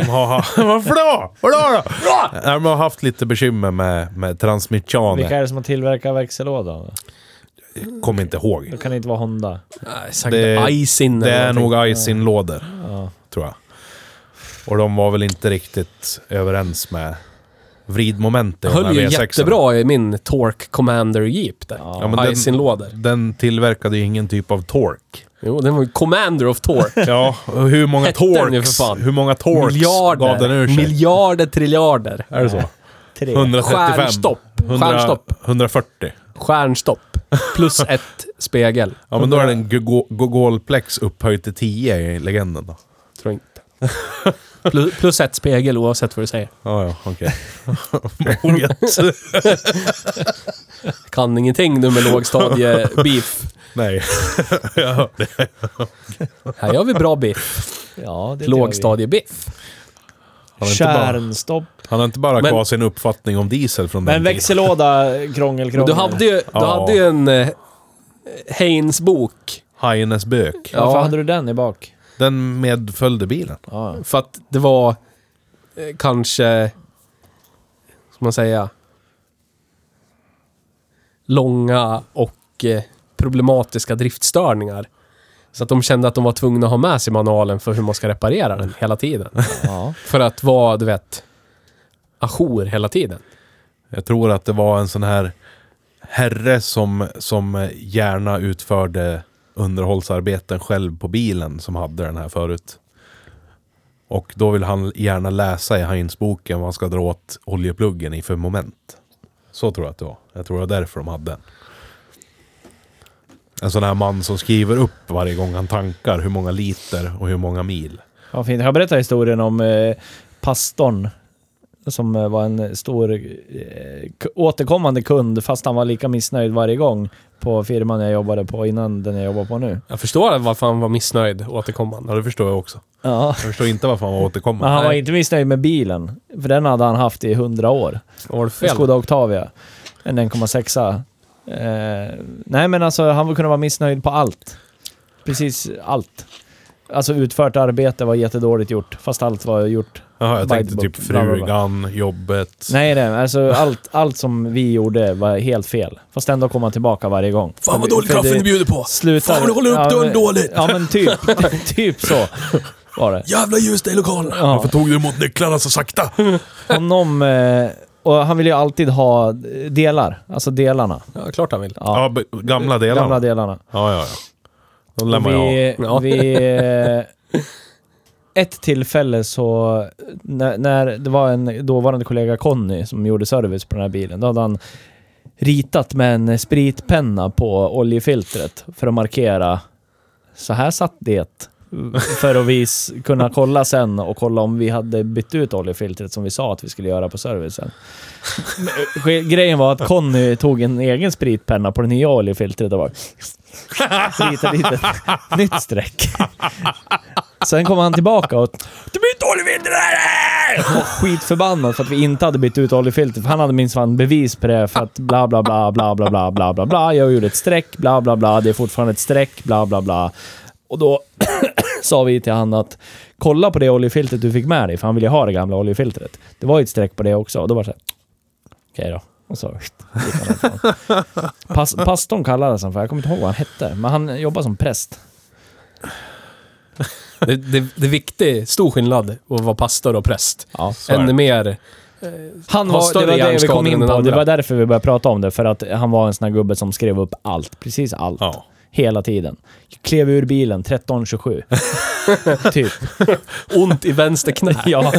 C: har varför då? Varför då? Nej, De har haft lite bekymmer med, med
A: Vilka
C: transmissioner.
A: är det som har tillverkat växellådan?
C: Kommer inte ihåg.
A: Då kan det inte vara Honda.
B: Nej, säkert
C: Det-
B: Aisin
C: Det
B: eller
C: är
B: någonting.
C: nog Icing-lådor,
A: Ja.
C: tror jag. Och de var väl inte riktigt överens med vridmomentet. i den här
B: höll ju
C: V6an.
B: jättebra i min Torque Commander Jeep där.
A: Ja.
B: Ja,
C: Ja, men den-
B: Aisin-lådor.
C: Den tillverkade ju ingen typ av tork.
B: Jo, den var ju Commander of Torque.
C: Ja, och hur många
B: Hette den ju
C: torks,
B: för fan.
C: hur många torks gav den
B: miljarder,
C: ur sig?
B: miljarder, triljarder.
C: är det så?
A: Tre.
C: 135?
B: Stjärnstopp.
C: 100
B: Stjärnstopp.
C: 140?
B: Stjärnstopp. Plus ett spegel.
C: Ja, men då är den Gogo- Gogolplex upphöjd till 10 i legenden då.
B: Tror inte. Plus, plus ett spegel oavsett vad du säger.
C: Ja, ja, okej. Moget.
B: Kan ingenting nu med lågstadiebeef.
C: Nej.
B: Här gör vi bra biff.
A: Ja, det
B: Lågstadiebiff.
C: Han har inte bara,
A: Kärnstopp.
C: han har inte bara
B: Men-
C: kvar sin uppfattning om diesel från
A: Men
C: den tiden.
A: växellåda, eh, krångel,
B: Men
A: krångel.
B: Du hade ju, du
C: Ja.
B: hade ju en eh, Haynes bok.
C: Hajenes bök.
A: Varför
B: Ja.
A: hade du den i bak?
C: Den medföljde bilen.
A: Ja.
B: För att det var eh, kanske, ska man säga, långa och eh, problematiska driftstörningar. Så att de kände att de var tvungna att ha med sig manualen för hur man ska reparera den hela tiden.
A: ja.
B: För att vara, du vet, ajour hela tiden.
C: Jag tror att det var en sån här herre som, som gärna utförde underhållsarbeten själv på bilen som hade den här förut. Och då vill han gärna läsa i Heinz boken vad han ska dra åt oljepluggen i för moment. Så tror jag att det var. Jag tror det var därför de hade den. En sån här man som skriver upp varje gång han tankar hur många liter och hur många mil.
A: Ja, fint. Jag berättade historien om eh, pastorn som eh, var en stor eh, k- återkommande kund fast han var lika missnöjd varje gång på firman jag jobbade på innan den jag jobbar på nu.
B: Jag förstår varför han var missnöjd återkommande.
C: Ja, det förstår jag också.
A: Ja.
C: Jag förstår inte varför han var
A: Men
C: återkommande.
A: han var
B: Nej.
A: inte missnöjd med bilen, för den hade han haft i 100 år.
B: Vad var det
A: Fel.
B: fel?
A: Skoda Octavia. En 1,6. Eh, nej, men alltså han kunde vara missnöjd på allt. Precis allt. Alltså utfört arbete var jättedåligt gjort, fast allt var gjort
C: Jaha, jag
A: By the
C: tänkte typ
A: book, bla, bla, bla.
C: frugan, jobbet.
A: Nej, nej. Alltså, allt, allt som vi gjorde var helt fel. Fast ändå kom han tillbaka varje gång.
B: Fan vad dålig
A: För
B: kaffe
A: det
B: ni bjuder på!
A: Slutar...
B: Fan vad du håller upp dörren
A: men-
B: dåligt!
A: Ja, men typ. typ så var det.
B: Jävla ljus i lokalen!
A: Ja.
C: tog du emot nycklarna så sakta?
A: Honom eh, Och han vill ju alltid ha delar. Alltså delarna.
B: Ja, klart han vill.
C: Ja, b- gamla delar.
A: Gamla delarna.
C: Ja, ja, ja. De lämnar jag av.
A: Vi,
B: Ja.
A: vi, eh, ett tillfälle så, när, när det var en dåvarande kollega Conny som gjorde service på den här bilen, då hade han ritat med en spritpenna på oljefiltret för att markera så här satt det. För att vi s- kunna kolla sen och kolla om vi hade bytt ut oljefiltret som vi sa att vi skulle göra på servicen. Men, eh, Grejen var att Conny tog en egen spritpenna på det nya oljefiltret och bara ritade dit ett nytt streck. Sen kom han tillbaka och
B: Du blir inte oljefilter
A: var skitförbannad för att vi inte hade bytt ut oljefiltret. För han hade minst fan bevis på det för att bla bla bla bla bla bla bla bla bla. Jag gjorde ett streck, bla bla bla. Det är fortfarande ett streck, bla bla bla. Och då sa vi till han att kolla på det oljefiltret du fick med dig, för han ville ju ha det gamla oljefiltret. Det var ju ett streck på det också och då var det såhär, okej då. Och så gick han därifrån. Pas, pastorn kallades han för, jag kommer inte ihåg vad han hette, men han jobbar som präst.
B: Det, det, det är viktigt, stor skillnad att vara pastor och präst.
A: Ja.
C: är
B: Ännu
C: det.
B: mer...
A: Han
B: Har
A: var, det
B: större
A: var det vi
B: hjärnskador
A: kom in
B: än den
A: på. Det
B: andra.
A: var därför vi började prata om det. För att han var en sån här gubbe som skrev upp allt. Precis allt.
C: Ja.
A: Hela tiden. Klev ur bilen 13.27. typ.
B: Ont i vänster knä.
A: Ja,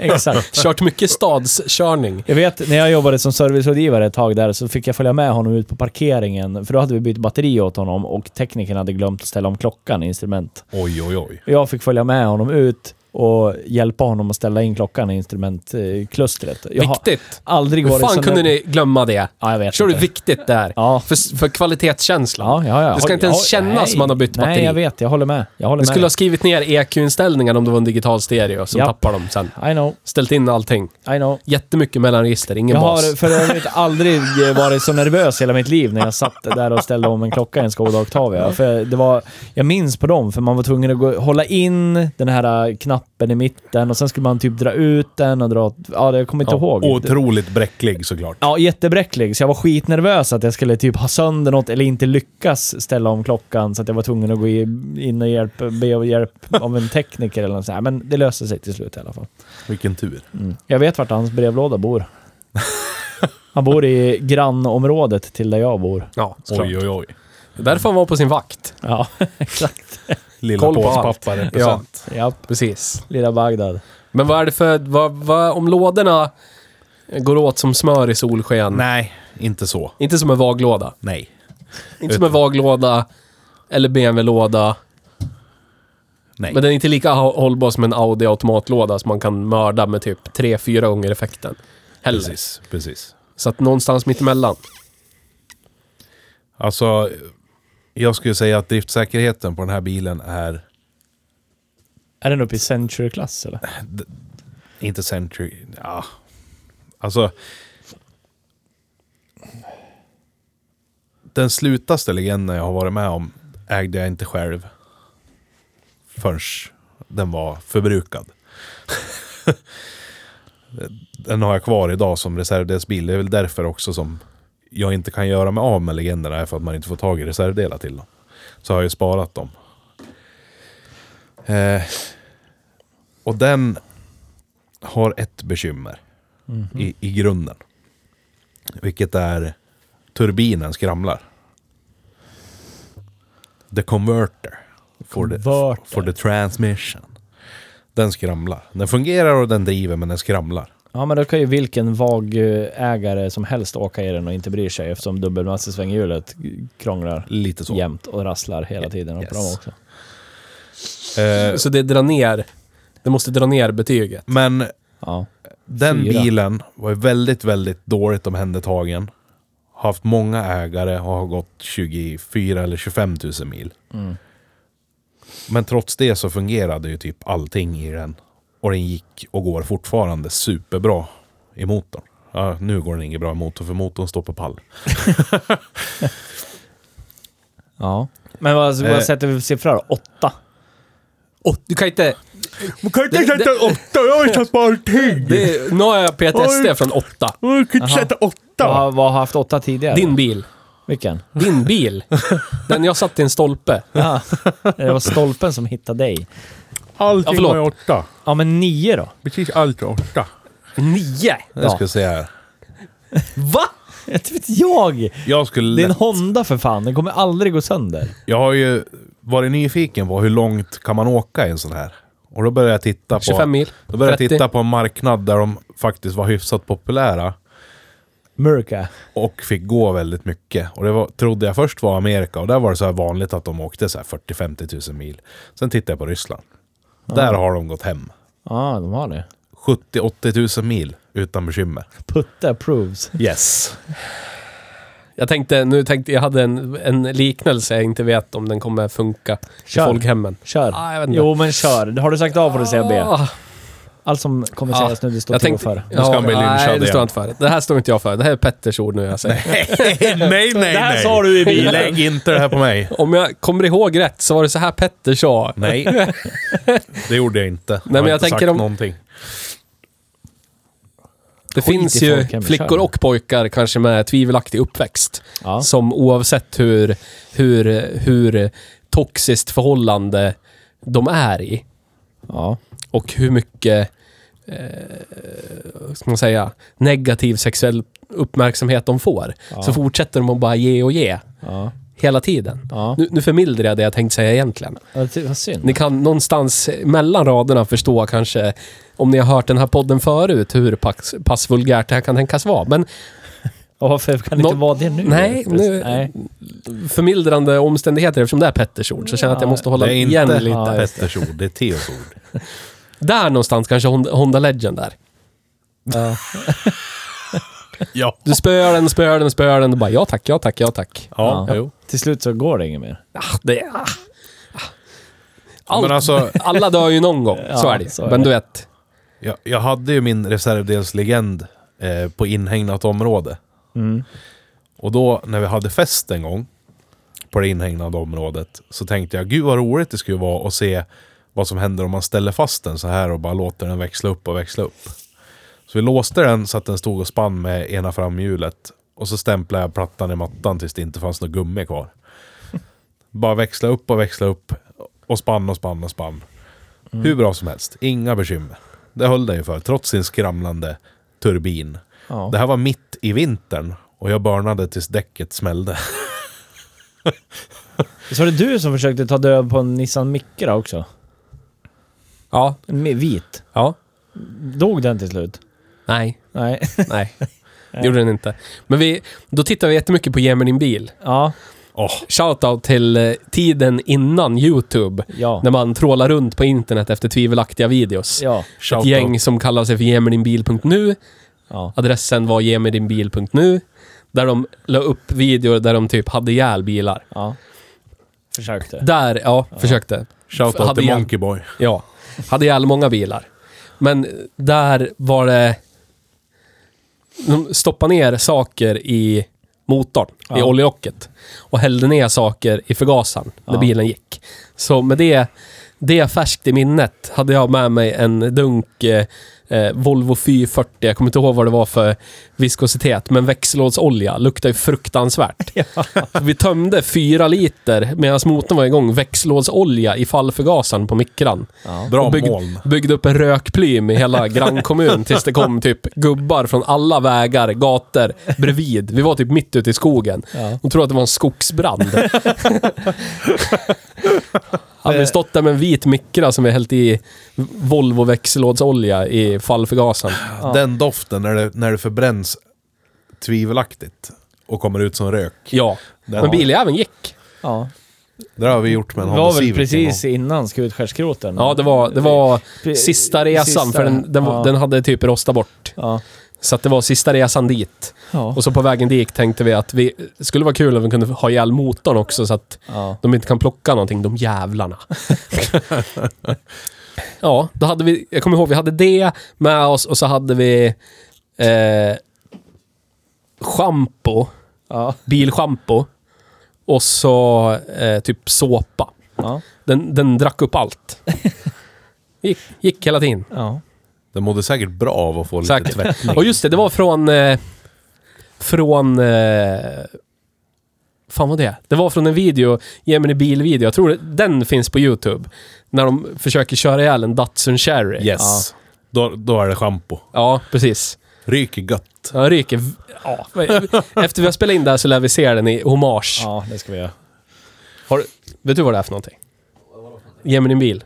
A: exakt.
B: Kört mycket stadskörning.
A: Jag vet, när jag jobbade som servicerådgivare ett tag där så fick jag följa med honom ut på parkeringen. För då hade vi bytt batteri åt honom och teknikern hade glömt att ställa om klockan i instrument.
C: Oj, oj, oj.
A: Och Jag fick följa med honom ut och hjälpa honom att ställa in klockan i instrumentklustret. Jag har
B: Viktigt.
A: aldrig
B: Hur
A: varit
B: fan
A: så
B: kunde
A: nöjd-
B: ni glömma det?
A: Ja, jag vet
B: Kör du
A: inte.
B: viktigt där?
A: Ja.
B: För, för kvalitetskänslan.
A: Ja, ja, ja.
B: Det ska inte ens kännas som man har bytt
A: nej,
B: batteri.
A: Nej, jag vet. Jag håller med. Jag håller
B: Du
A: med.
B: skulle ha skrivit ner EQ-inställningar om det var en digital stereo, som
A: Japp.
B: tappar dem sen.
A: I know,
B: Ställt in allting.
A: I know.
B: Jättemycket mellanregister, ingen
A: Jag
B: bas.
A: har för övrigt aldrig varit så nervös hela mitt liv när jag satt där och ställde om en klocka i en Skoda
B: Mm.
A: Octavia. För det var, jag minns på dem, för man var tvungen att gå, hålla in den här knappen i mitten och sen skulle man typ dra ut den och dra... åt- Ja, det- jag kommer inte ihåg.
C: Otroligt bräcklig såklart.
A: Ja, jättebräcklig. Så jag var skitnervös att jag skulle typ ha sönder något eller inte lyckas ställa om klockan. Så att jag var tvungen att gå i- in och hjälp, be om hjälp av en tekniker eller något sånt. här. Men det löste sig till slut i alla fall.
C: Vilken tur.
A: Jag vet vart hans brevlåda bor. Han bor i grannområdet till där jag bor.
B: Ja, såklart.
C: Oj, oj, oj.
B: Därför han var på sin vakt.
A: Ja, exakt.
C: Lilla
B: Koll på
C: påspappa
B: allt.
C: represent.
A: Japp.
B: Precis.
A: Lilla Bagdad.
B: Men vad är det för... Vad, vad, om lådorna går åt som smör i solsken.
C: Nej, inte så.
B: Inte som en vaglåda.
C: Nej.
B: Inte som en vaglåda eller BMW-låda.
C: Nej.
B: Men den är inte lika hå- hållbar som en Audi automatlåda som man kan mörda med typ 3-4 gånger effekten. Heller.
C: Precis, precis.
B: Så att någonstans mittemellan.
C: Alltså, jag skulle säga att driftsäkerheten på den här bilen är
A: Är den uppe i Century-klass eller?
C: inte century... Ja. Alltså... Den slutaste legenden jag har varit med om ägde jag inte själv förrän den var förbrukad. den har jag kvar idag som reservdelsbil. Det är väl därför också som jag inte kan göra mig av med legenderna, är för att man inte får tag i reservdelar till dem. Så har jag ju sparat dem. Eh, och den har ett bekymmer i, i grunden. Vilket är turbinen skramlar. The converter for the,
A: Converter.
C: for the transmission. Den skramlar. Den fungerar och den driver men den skramlar.
A: Ja, men då kan ju vilken vagägare som helst åka i den och inte bryr sig eftersom dubbelmassesvänghjulet krånglar
C: Lite så.
A: jämt och rasslar hela tiden. Och på dem
C: Yes.
A: också.
C: Eh,
B: Så det drar ner... Det måste dra ner betyget.
C: men
A: Ja.
C: den
A: Fyra.
C: bilen var ju väldigt, väldigt dåligt omhändertagen. Har haft många ägare och har gått 24 eller 25 000 mil.
B: Mm.
C: Men trots det så fungerade ju typ allting i den. Och den gick och går fortfarande superbra i motorn. Ja, nu går den inget bra i motorn för motorn står på pall.
A: ja. Men vad, vad
C: Eh.
A: sätter vi för siffra då? Åtta?
B: Åh, du kan inte...
C: Man kan inte
B: Det- sätta det-
C: åtta, jag har ju satt på allting!
B: Det är, nu har jag PTSD från åtta.
C: Man kan inte sätta
A: Vad
C: åtta!
A: har- vad har haft åtta tidigare?
B: Din bil.
A: Vilken?
B: Din bil. Den jag satt i en stolpe.
A: Ja. Det var stolpen som hittade dig.
C: Allting
B: Ja, förlåt.
C: åtta.
A: Ja, men nio då?
C: Precis allt var åtta.
B: Nio!
C: Jag ska se här.
B: Va?
A: Inte vet jag!
C: Jag, skulle
A: Det är en
C: lätt,
A: Honda för fan, den kommer aldrig gå sönder.
C: jag har ju varit nyfiken på hur långt kan man åka i en sån här. Och då började jag titta på...
B: 25 mil?
C: Då började jag
B: 30?
C: titta på en marknad där de faktiskt var hyfsat populära.
A: Murka.
C: Och fick gå väldigt mycket. Och det var, trodde jag först var Amerika. Och där var det så här vanligt att de åkte så här 40-50 000 mil. Sen tittade jag på Ryssland. Där har de gått hem.
A: Ja, de har det.
C: 70-80 000 mil utan bekymmer.
A: Putte approves.
C: Yes.
B: Jag tänkte, nu tänkte, jag hade en, en liknelse jag inte vet om den kommer funka
A: Kör.
B: i folkhemmen.
A: Kör.
B: Ah, jag vet inte.
A: jo, men kör. Har du sagt A får du säga B.
B: Ah,
A: Allt som kommer
B: ah.
A: sägas nu, det står
B: Jag
A: K
B: tänkte-
A: för.
C: Nu ska han bli
B: Ja,
C: lynchad
B: Nej, det
C: igen.
B: står inte för. Det här står inte jag för. Det här är Petters ord nu jag säger.
C: nej, nej, nej.
A: Det här sa du i bilen.
C: Lägg inte det här på mig.
B: Om jag kommer ihåg rätt så var det så här Petter sa.
C: Nej. Det gjorde jag inte. Nej,
B: men jag tänker om-
C: någonting.
B: Det
A: Skit i
B: finns ju
A: folkhemmet,
B: flickor
A: kör.
B: och pojkar kanske med tvivelaktig uppväxt.
A: Ja.
B: Som oavsett hur, hur, hur toxiskt förhållande de är i
A: ja.
B: och hur mycket, eh, vad ska man säga, negativ sexuell uppmärksamhet de får.
A: Ja.
B: Så fortsätter de att bara ge och ge
A: Ja.
B: hela tiden.
A: Ja.
B: Nu, nu förmildrar jag det jag tänkte säga egentligen.
A: Ja, det- Vad synd.
B: Ni kan någonstans mellan raderna förstå kanske, om ni har hört den här podden förut, hur pass, pass vulgärt det här kan tänkas vara. Men
A: Och varför kan det
B: Nå-
A: inte vara det nu?
B: Nej, nu-
A: Nej.
B: förmildrande omständigheter, eftersom det är Petters ord, så känner jag att jag måste hålla
C: Det är inte
B: igen lite.
A: Ja, just
C: Petters ord, det är Theos ord.
B: Där någonstans kanske Honda, Honda Legend där.
A: Ja.
C: Ja.
B: Du spöar den, spöar den, spöar den. Du bara ja tack, ja tack, ja tack.
C: Ja,
A: Ja.
C: jo.
A: Till slut så går det inget mer.
B: Ah, det, ah.
C: Ja,
B: Allt,
C: Men alltså,
B: Alla dör ju någon gång, så
A: Ja,
B: är det
A: så är
B: ju. Men
A: det.
B: du vet,
C: jag, jag hade ju min reservdelslegend eh, på inhägnat område. Och då när vi hade fest en gång på det inhägnade området så tänkte jag gud vad roligt det skulle vara att se vad som händer om man ställer fast den så här och bara låter den växla upp och växla upp. Så vi låste den så att den stod och spann med ena framhjulet och så stämplade jag plattan i mattan tills det inte fanns något gummi kvar. Bara växla upp och växla upp och spann och spann och spann. Hur bra som helst, inga bekymmer. Det höll den ju för, trots sin skramlande turbin.
A: Ja.
C: Det här var mitt i vintern och jag burnade tills däcket smällde.
A: Så var det du som försökte ta död på en Nissan Micra också?
B: ja,
A: En mi- vit.
B: ja,
A: Dog den till slut?
B: nej,
A: Nej.
B: nej. Det gjorde den inte. Men vi, då tittar vi jättemycket på Ge mig din bil.
A: Ja.
C: Åh,
B: Shoutout till eh, tiden innan YouTube.
A: Ja.
B: När man trålar runt på internet efter tvivelaktiga videos.
A: Ja.
B: Ett
C: shoutout.
B: gäng som kallar sig för gemedinbil.nu.
A: Ja.
B: Adressen var gemedinbil.nu. Där de la upp videor där de typ hade ihjäl bilar.
A: ja. Försökte.
B: Där, ja, försökte.
C: Shoutout
B: Hade
C: till
B: jag-
C: Monkeyboy.
B: Ja. Hade ihjäl många bilar. Men där var det... De stoppade ner saker i motorn, i
A: Ja.
B: oljelocket. Och hällde ner saker i förgasaren när
A: Ja.
B: bilen gick. Så med det, det färskt i minnet hade jag med mig en dunk eh, eh, Volvo 440. Jag kommer inte ihåg vad det var för viskositet, men växellådsolja. Luktar ju fruktansvärt. Så Vi tömde fyra liter medan motorn var igång växellådsolja i fallförgasaren på mikran.
A: Ja.
C: Bra
B: Och bygg-
C: moln.
B: Byggde upp en rökplym i hela grannkommun tills det kom typ gubbar från alla vägar, gator, bredvid. Vi var typ mitt ute i skogen.
A: Ja.
B: De trodde att det var en skogsbrand. Hade
A: Eh.
B: vi stått där med en vit mikra som vi hällt i Volvo växellådsolja i fallförgasaren.
C: Den doften när det, när det förbränns tvivelaktigt och kommer ut som rök.
B: Ja.
C: Den-
B: Men biljäveln gick.
A: ja.
C: Det har vi gjort med
A: Det var
C: en Honda
A: väl
C: Civic
A: precis
C: en
A: innan skutskärskroten?
B: Ja, det var, det var
A: Pre-
B: sista resan
A: sista,
B: för den, den,
A: ja.
B: den hade typ rostat bort.
A: Ja.
B: Så att det var sista resan dit.
A: Ja.
B: Och så på vägen dit tänkte vi att vi det skulle vara kul om vi kunde ha ihjäl motorn också så att
A: ja.
B: de inte kan plocka någonting, de jävlarna. ja, då hade vi, jag kommer ihåg, vi hade det med oss och så hade vi eh, schampo,
A: Ja.
B: bilschampo och så eh, typ såpa.
A: Ja.
B: Den, den drack upp allt. Gick, gick hela tiden.
A: Ja.
C: Den mådde säkert bra av att få lite
B: Säkert.
C: tvättning.
B: Och just det, det var från... Eh, från... Eh, fan vad det är? Det var från en video, Gemini Bil-video. Jag tror det- den finns på YouTube. När de försöker köra ihjäl en Datsun Cherry.
C: Yes. Då, då är det schampo.
B: Ja, precis.
C: Ryker gött.
B: Ja, ryker. v- Ja. Efter vi har spelat in det här så lär vi se den i hommage.
A: Ja, det ska vi göra.
B: Har, du- vet du vad det är för någonting? Ge mig din bil.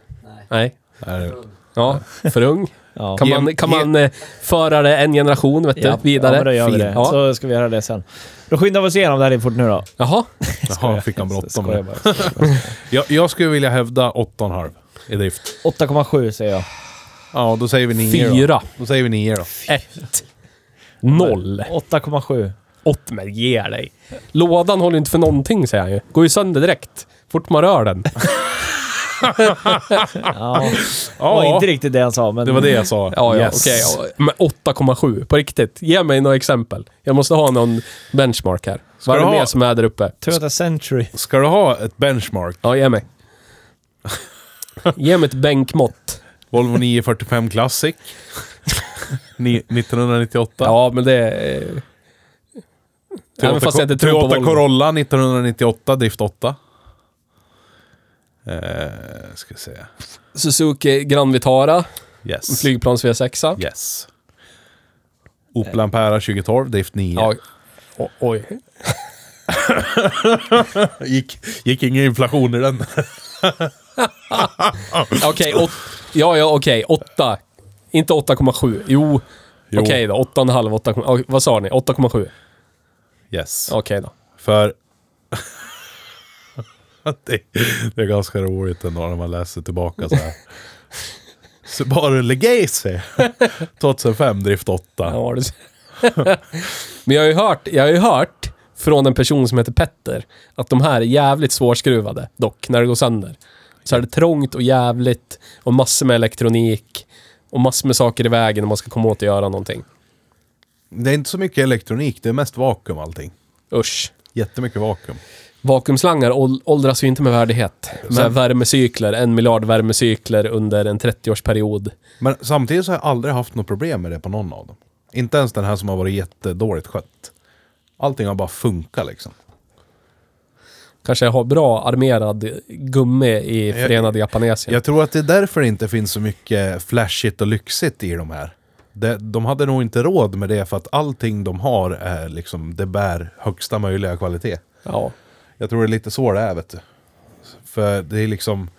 B: Nej.
C: Är-
B: Ja, för ung.
A: Ja.
B: Kan
C: Ge-
B: man, kan
C: ge-
B: man eh, föra det en generation vet du,
A: Ja,
B: vidare?
A: Ja, men då gör vi det.
B: Ja.
A: Så ska vi göra det sen. Då skyndar vi oss igenom det här lite fort nu då.
B: Jaha.
C: Jaha, fick han bråttom.
A: Skojar
C: nu.
A: bara.
C: Jag, jag skulle vilja hävda 8,5 i drift.
A: 8,7 säger jag.
C: Ja, då säger vi 9
B: Fyra.
C: Då. då säger vi 9 då.
B: Ett. Noll.
A: 8,7.
B: Åt mig, ge dig. Lådan håller ju inte för någonting säger han ju. Går ju sönder direkt. Fort man rör den.
A: Ja. Det var
C: Ja,
A: inte riktigt det han sa, men...
C: det var det jag sa.
B: Ja, ja,
C: Yes.
B: okej. ja. Men 8,7. På riktigt. Ge mig några exempel. Jag måste ha någon benchmark här. Vad är
C: du
B: det
C: ha-
B: mer som är där uppe?
A: Toyota Century.
C: Ska du ha ett benchmark?
B: Ja, ge mig. Ge mig ett bänkmått.
C: Volvo 945 Classic. Ni, 1998.
B: Ja, men det... är- Även fast jag inte tror på
C: Toyota
B: Volvo.
C: Corolla 1998, drift 8. Eh, ska vi se.
B: Suzuki Gran Vitara,
C: Yes.
B: flygplans V6.
C: Yes. Opel Ampera 2012, drift 9.
B: Ja. O- oj.
C: Gick, gick ingen inflation i den.
B: Ja, Okej, åt- ja, ja, okej. Åtta. Inte 8,7. Jo.
C: Jo.
B: Okej då. 8,5, 8,7. Oj, Vad sa ni? 8,7.
C: Yes.
B: Okej då.
C: För... det, det är ganska roligt ändå när man läser tillbaka så här. Subaru Legacy 2005, drift 8.
B: Ja, det... Men jag har ju hört, jag har ju hört från en person som heter Petter att de här är jävligt svårskruvade dock, när det går sönder. Så är det trångt och jävligt och massor med elektronik och massor med saker i vägen om man ska komma åt att göra någonting.
C: Det är inte så mycket elektronik, det är mest vakuum allting.
B: Usch.
C: Jättemycket vakuum.
B: Vakuumslangar ål- åldras ju inte med värdighet. Med
C: Sen-
B: värmecykler, en miljard värmecykler under en 30-årsperiod.
C: Men samtidigt så har jag aldrig haft något problem med det på någon av dem. Inte ens den här som har varit jättedåligt skött. Allting har bara funkat liksom.
B: Kanske har bra armerad gummi i förenade Japanesien.
C: Jag tror att det är därför det inte finns så mycket flashigt och lyxigt i de här. De, de hade nog inte råd med det för att allting de har är liksom, det bär högsta möjliga kvalitet.
B: Ja.
C: Jag tror det är lite så det är vet du. För det är liksom,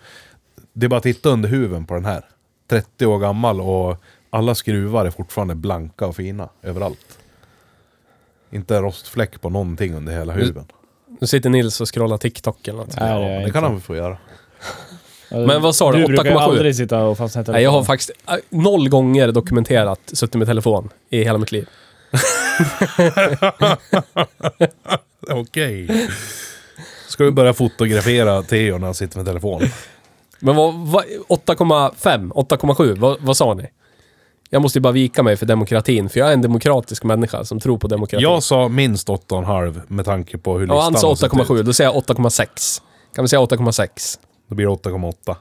C: det är bara att titta under huven på den här. 30 år gammal och alla skruvar är fortfarande blanka och fina överallt. Inte en rostfläck på någonting under hela huven.
B: Nu sitter Nils och scrollar TikTok eller något.
A: Nej, det är
C: ja, det
A: inte.
C: kan han väl få göra.
B: Men vad sa du?
A: Du brukar ju
B: 8,7?
A: aldrig sitta och fastna i
B: Nej, jag har
A: telefonen.
B: faktiskt äh, noll gånger dokumenterat suttit med telefon i hela mitt liv.
C: Okej. Ska vi börja fotografera Theo när han sitter med telefonen?
B: Men vad, vad 8,5? 8,7? Vad, vad sa ni? Jag måste ju bara vika mig för demokratin, för jag är en demokratisk människa som tror på demokrati.
C: Jag sa minst 8,5 med tanke på hur
B: ja, han sa
C: har sett
B: 8,7,
C: ut.
B: då säger jag 8,6. Kan vi säga 8,6?
C: Då blir det 8,8.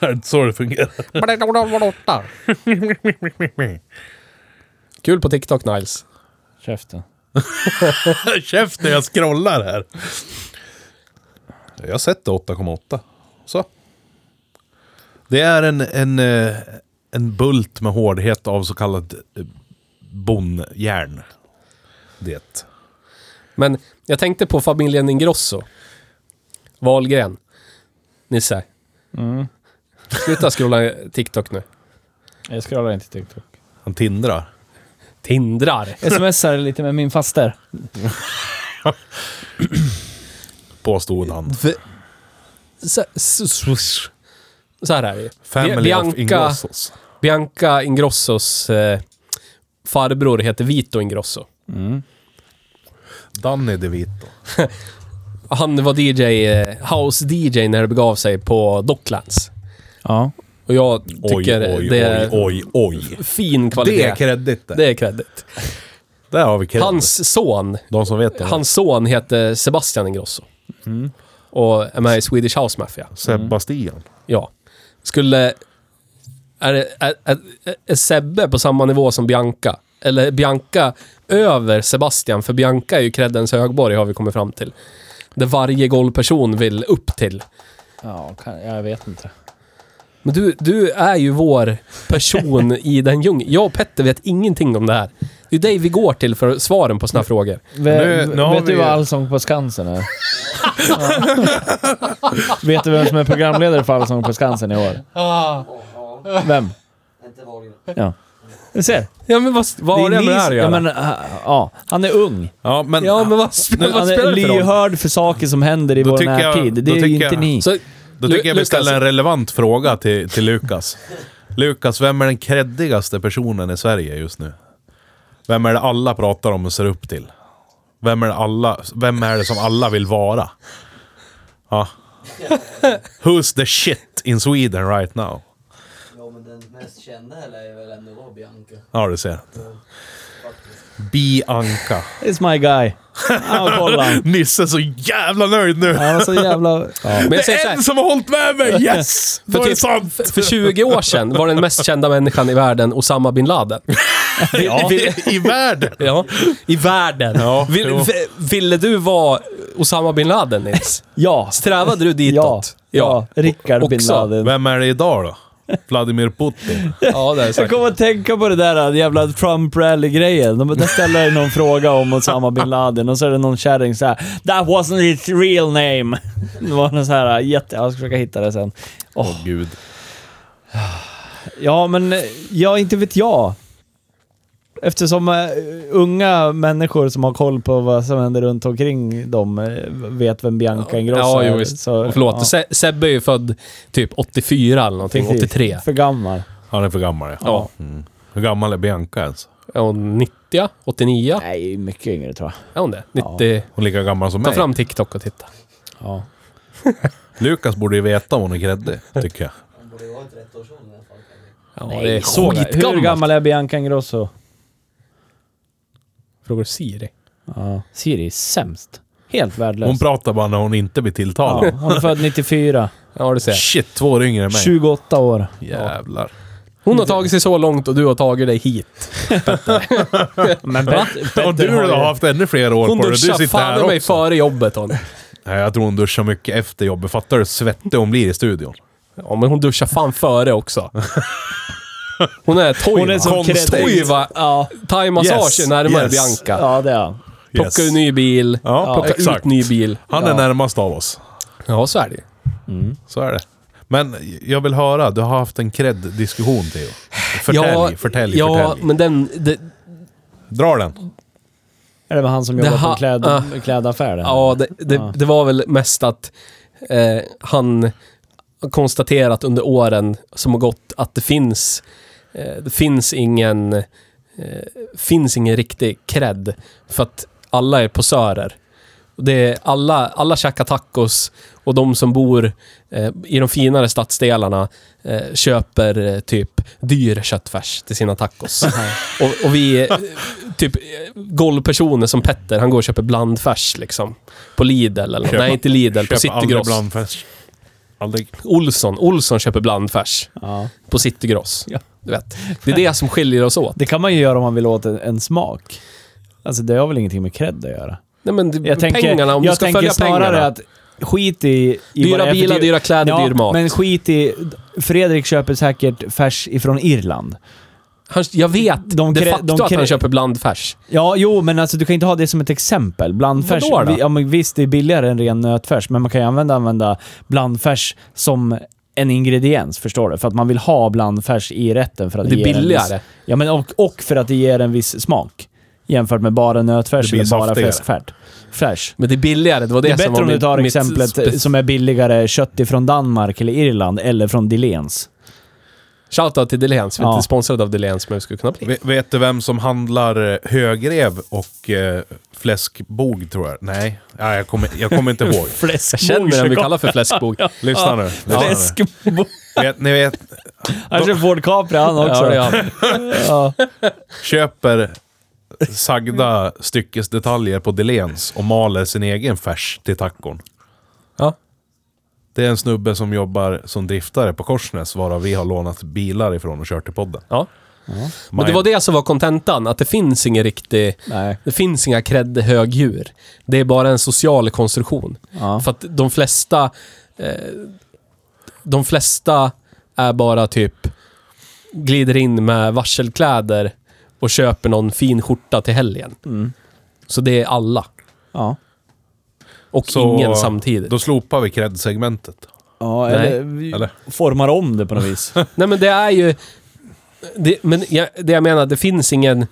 C: Är det inte så det fungerar?
B: Kul på TikTok, Niles.
A: Käften.
C: Käften, jag scrollar här. Jag sätter 8,8. Så. Det är en, en, eh, en bult med hårdhet av så kallat eh, bonjärn. Det.
B: Men jag tänkte på familjen Ingrosso. Wahlgren. Nisse.
C: Mm.
B: Sluta scrolla TikTok nu.
A: Jag scrollar inte TikTok.
C: Han tindrar.
B: Tindrar.
A: Smsar lite med min faster.
C: Påstod han.
B: Så, så, så, så här är det ju.
C: Family
B: Bi-
C: of Ingrossos.
B: Bianca Ingrossos eh, farbror heter Vito Ingrosso.
A: Mm.
C: Danny DeVito.
B: Han var DJ, eh, house-DJ när det begav sig på Docklands.
A: Ja.
B: Och jag
C: Oj,
B: tycker
C: oj,
B: det
C: oj,
B: är
C: oj, oj.
B: fin kvalitet.
C: Det är kreddigt det.
B: Det är credit.
C: Där har vi cred.
B: Hans son,
C: De som vet det.
B: hans son heter Sebastian Ingrosso.
A: Mm.
B: Och är med i Swedish House Mafia.
C: Sebastian.
B: Ja. Skulle... Är, det- är, är, är Sebbe på samma nivå som Bianca? Eller är Bianca över Sebastian? För Bianca är ju creddens högborg, har vi kommit fram till. Där varje golvperson vill upp till.
A: Ja, kan, jag vet inte.
B: Men du, du är ju vår person i den djungeln. Jag och Petter vet ingenting om det här. Det är dig vi går till för svaren på såna frågor.
A: Ve-
C: Nu- nu har
A: vet du
C: vi-
A: vad Allsång på Skansen är? Ja. vet du vem som är programledare för Allsång på Skansen i år? Vem?
D: Ah. Inte Wahlgren.
A: Ja. Du ser.
B: Ja, men vad, vad har det
A: ni
B: med det här
A: som-
B: att
A: ja,
B: göra?
A: men, äh, ja, Han är ung.
C: Ja, men...
B: Ja, men vad, sp- vad
A: Han
B: spelar
A: är
B: det för roll?
A: lyhörd för saker som händer i
C: Då
A: vår
C: tycker jag-
A: närtid. Det
C: då
A: är ju
C: tycker
A: inte
C: jag-
A: ni.
B: Så,
C: Då tycker jag vi
B: Lukas,
C: ställer en relevant fråga till, till Lukas. Lukas, vem är den kreddigaste personen i Sverige just nu? Vem är det alla pratar om och ser upp till? Vem är det, alla, vem är det som alla vill vara? Ja. Who's the shit in Sweden right now?
D: Ja men den mest kända eller är väl ändå var Bianca.
C: Ja, du ser.
D: Faktiskt.
C: Bianca.
A: It's my guy. Ja, kolla. han.
C: Nisse är så jävla nöjd nu!
A: Han var så jävla... Ja.
B: men jag
C: Det
B: säger så
C: är
B: här,
C: en som har hållit med mig! Yes! Då är det sant!
B: för 20 år sedan var den mest kända människan i världen Osama bin Laden.
C: Ja, I världen!
B: Ja, i världen.
C: Ja,
B: Vill,
C: jo.
B: v- ville du vara Osama bin Laden Nils?
A: Ja.
B: Strävade du
A: Ja.
B: ditåt?
A: ja. Rickard bin
B: Också.
A: Laden.
C: Vem är det idag då? Vladimir Putin?
B: ja det är
A: Jag
B: säkert.
A: kommer att tänka på det där äh, jävla Trump rally-grejen. De- Där ställer någon fråga om Osama bin Laden och så är det någon kärring såhär “That wasn't his real name”. Det var någon så här äh, jätte... Jag ska försöka hitta det sen. Åh,
C: Åh gud.
A: Ja, men eh, ja, inte vet jag. Eftersom eh, unga människor som har koll på vad som händer runt omkring dem eh, vet vem Bianca Ingrosso
B: Ja,
A: är.
B: jo, visst.
A: Så,
B: Och Förlåt,
A: ja,
B: Se- Sebbe är ju född typ 84 eller någonting,
A: precis.
B: 83.
A: För gammal.
C: Han är för gammal ja.
B: Ja.
C: Hur gammal är Bianca ens?
B: Är hon 90? 89?
A: Nej, mycket yngre tror jag.
B: Är hon det?
A: Ja.
B: 90?
C: Hon är lika gammal som
B: Ta
C: mig.
B: fram TikTok och titta.
A: Ja.
C: Lukas borde ju veta om hon är kreddig, tycker jag.
D: Han borde ju vara i 30-årsåldern i alla fall.
B: Ja, det är
A: Så, hur
B: skitgammalt.
A: gammal är Bianca Ingrosso?
B: Frågar du Siri?
A: Ja. Siri är sämst. Helt värdelös.
C: Hon pratar bara när hon inte blir
A: ja,
C: tilltalad.
A: hon är född 94.
B: Ja, du ser.
C: Shit, två år yngre än mig.
A: 28 år.
C: Jävlar.
B: Hon har tagit sig så långt och du har tagit dig hit.
A: Men Bet-
C: Och du
A: Petter har
C: har
A: ju...
C: haft ännu fler år
B: Hon
C: på dig. Du
B: duschar
C: sitter
B: fan i
C: här
B: mig
C: också.
B: före jobbet hon.
C: Nej, jag tror hon duschar mycket efter jobbet. Fattar du hur svettig hon blir i studion?
B: Ja, men hon duschar fan före också. Hon är Toiva.
A: Hon är som
B: Konst-
A: kreddig.
B: Toiva.
A: Ja.
B: Thai-massage
C: Yes,
B: närmare
C: yes.
B: Bianca.
A: ja, det är han.
B: Plocka ur ny bil.
C: Ja,
B: plocka ut
C: exakt.
B: ny bil.
C: Han är närmast av oss.
B: Ja, så är det ju.
C: Så är det. Men jag vill höra, du har haft en kredd-diskussion Theo. Förtälj,
B: ja,
C: förtälj,
B: Ja,
C: förtälj.
B: men den... Det,
C: Dra den.
A: Är det med han som
B: Det
A: jobbar på
B: ha-
A: kläd,
B: ah.
A: klädaffär? där?
B: ja, det, det,
A: Ja.
B: det var väl mest att eh, han har konstaterat under åren som har gått att det finns... Eh, det finns ingen... Eh, finns ingen riktig cred. För att alla är posörer. Det är alla, alla käkar tacos och de som bor eh, i de finare stadsdelarna eh, köper eh, typ dyr köttfärs till sina tacos. och, och vi, eh, typ eh, golvpersoner som Petter, han går och köper blandfärs liksom. På Lidl eller
C: Köpa-
B: nej inte Lidl, på
C: Köp aldrig
B: Citygross.
C: blandfärs. Aldrig.
B: Olsson, Olsson köper blandfärs
A: Ja.
B: på Citygross.
A: Ja.
B: Du vet. Det är det som skiljer oss åt.
A: Det kan man ju göra om man vill åt en, en smak. Alltså det har väl ingenting med cred att göra?
B: Nej men det,
A: Jag tänker,
B: pengarna, om
A: jag
B: du ska
A: tänker
B: följa
A: snarare
B: pengarna.
A: att skit i... i vad det är
B: dyra
A: för
B: bilar,
A: dyr-
B: dyra kläder,
A: ja,
B: dyr mat.
A: men skit i... Fredrik köper säkert färs ifrån Irland.
B: Han, jag vet
A: De
B: de
A: krä-
B: de facto
A: de
B: att
A: krä-
B: han köper blandfärs.
A: Ja, jo, men alltså du kan inte ha det som ett exempel. Blandfärs...
B: Vadå då?
A: vi- Ja, men visst, det är billigare än ren nötfärs, men man kan ju använda, använda blandfärs som en ingrediens, förstår du? För att man vill ha blandfärs i rätten för att
B: Det är
A: ge den en viss-
B: billigare.
A: Ja, men och, och för att det ger en viss smak. Jämfört med bara nötfärs
C: Det blir
A: eller bara
C: saftigare.
A: fläskfärs. Färs.
B: Men det är billigare, det var det,
A: Det är bättre
B: som var
A: om du
B: mitt-
A: tar
B: mitt
A: exemplet
B: spe-
A: som är billigare kött ifrån Danmark eller Irland eller från Dilens.
B: Shoutout till Delens, vi är
A: Ja.
B: inte sponsrade av Delens men vi skulle kunna bli.
C: Ve- Vet du vem som handlar eh, högrev och eh, fläskbog, tror jag? Nej, Nej jag, kommer, jag kommer inte ihåg.
B: Jag känner den vi kallar för fläskbog.
C: Lyssna nu. Lyssna nu.
A: Fläskbog.
C: Vet, ni vet,
A: Han kör Alltså, Ford Capri han också.
B: Ja, det är han.
C: köper sagda styckesdetaljer på Delens och maler sin egen färs till tacon.
B: Ja.
C: Det är en snubbe som jobbar som driftare på Korsnäs, varav vi har lånat bilar ifrån och kört till podden.
B: Ja. Men det
C: Mind-
B: var det som var kontentan, att det finns ingen riktig...
A: Nej.
B: Det finns inga cred högdjur. Det är bara en social konstruktion.
A: Ja.
B: För att de flesta... Eh, de flesta är bara typ glider in med varselkläder och köper någon fin skjorta till helgen.
A: Mm.
B: Så det är alla.
A: Ja.
B: Och
C: Så,
B: ingen samtidigt.
C: Då slopar vi cred-segmentet.
A: Ja,
B: Nej.
A: eller, vi
C: Eller?
A: formar om det på något vis.
B: Nej men det är ju... Det, men jag, det jag menar, det finns ingen...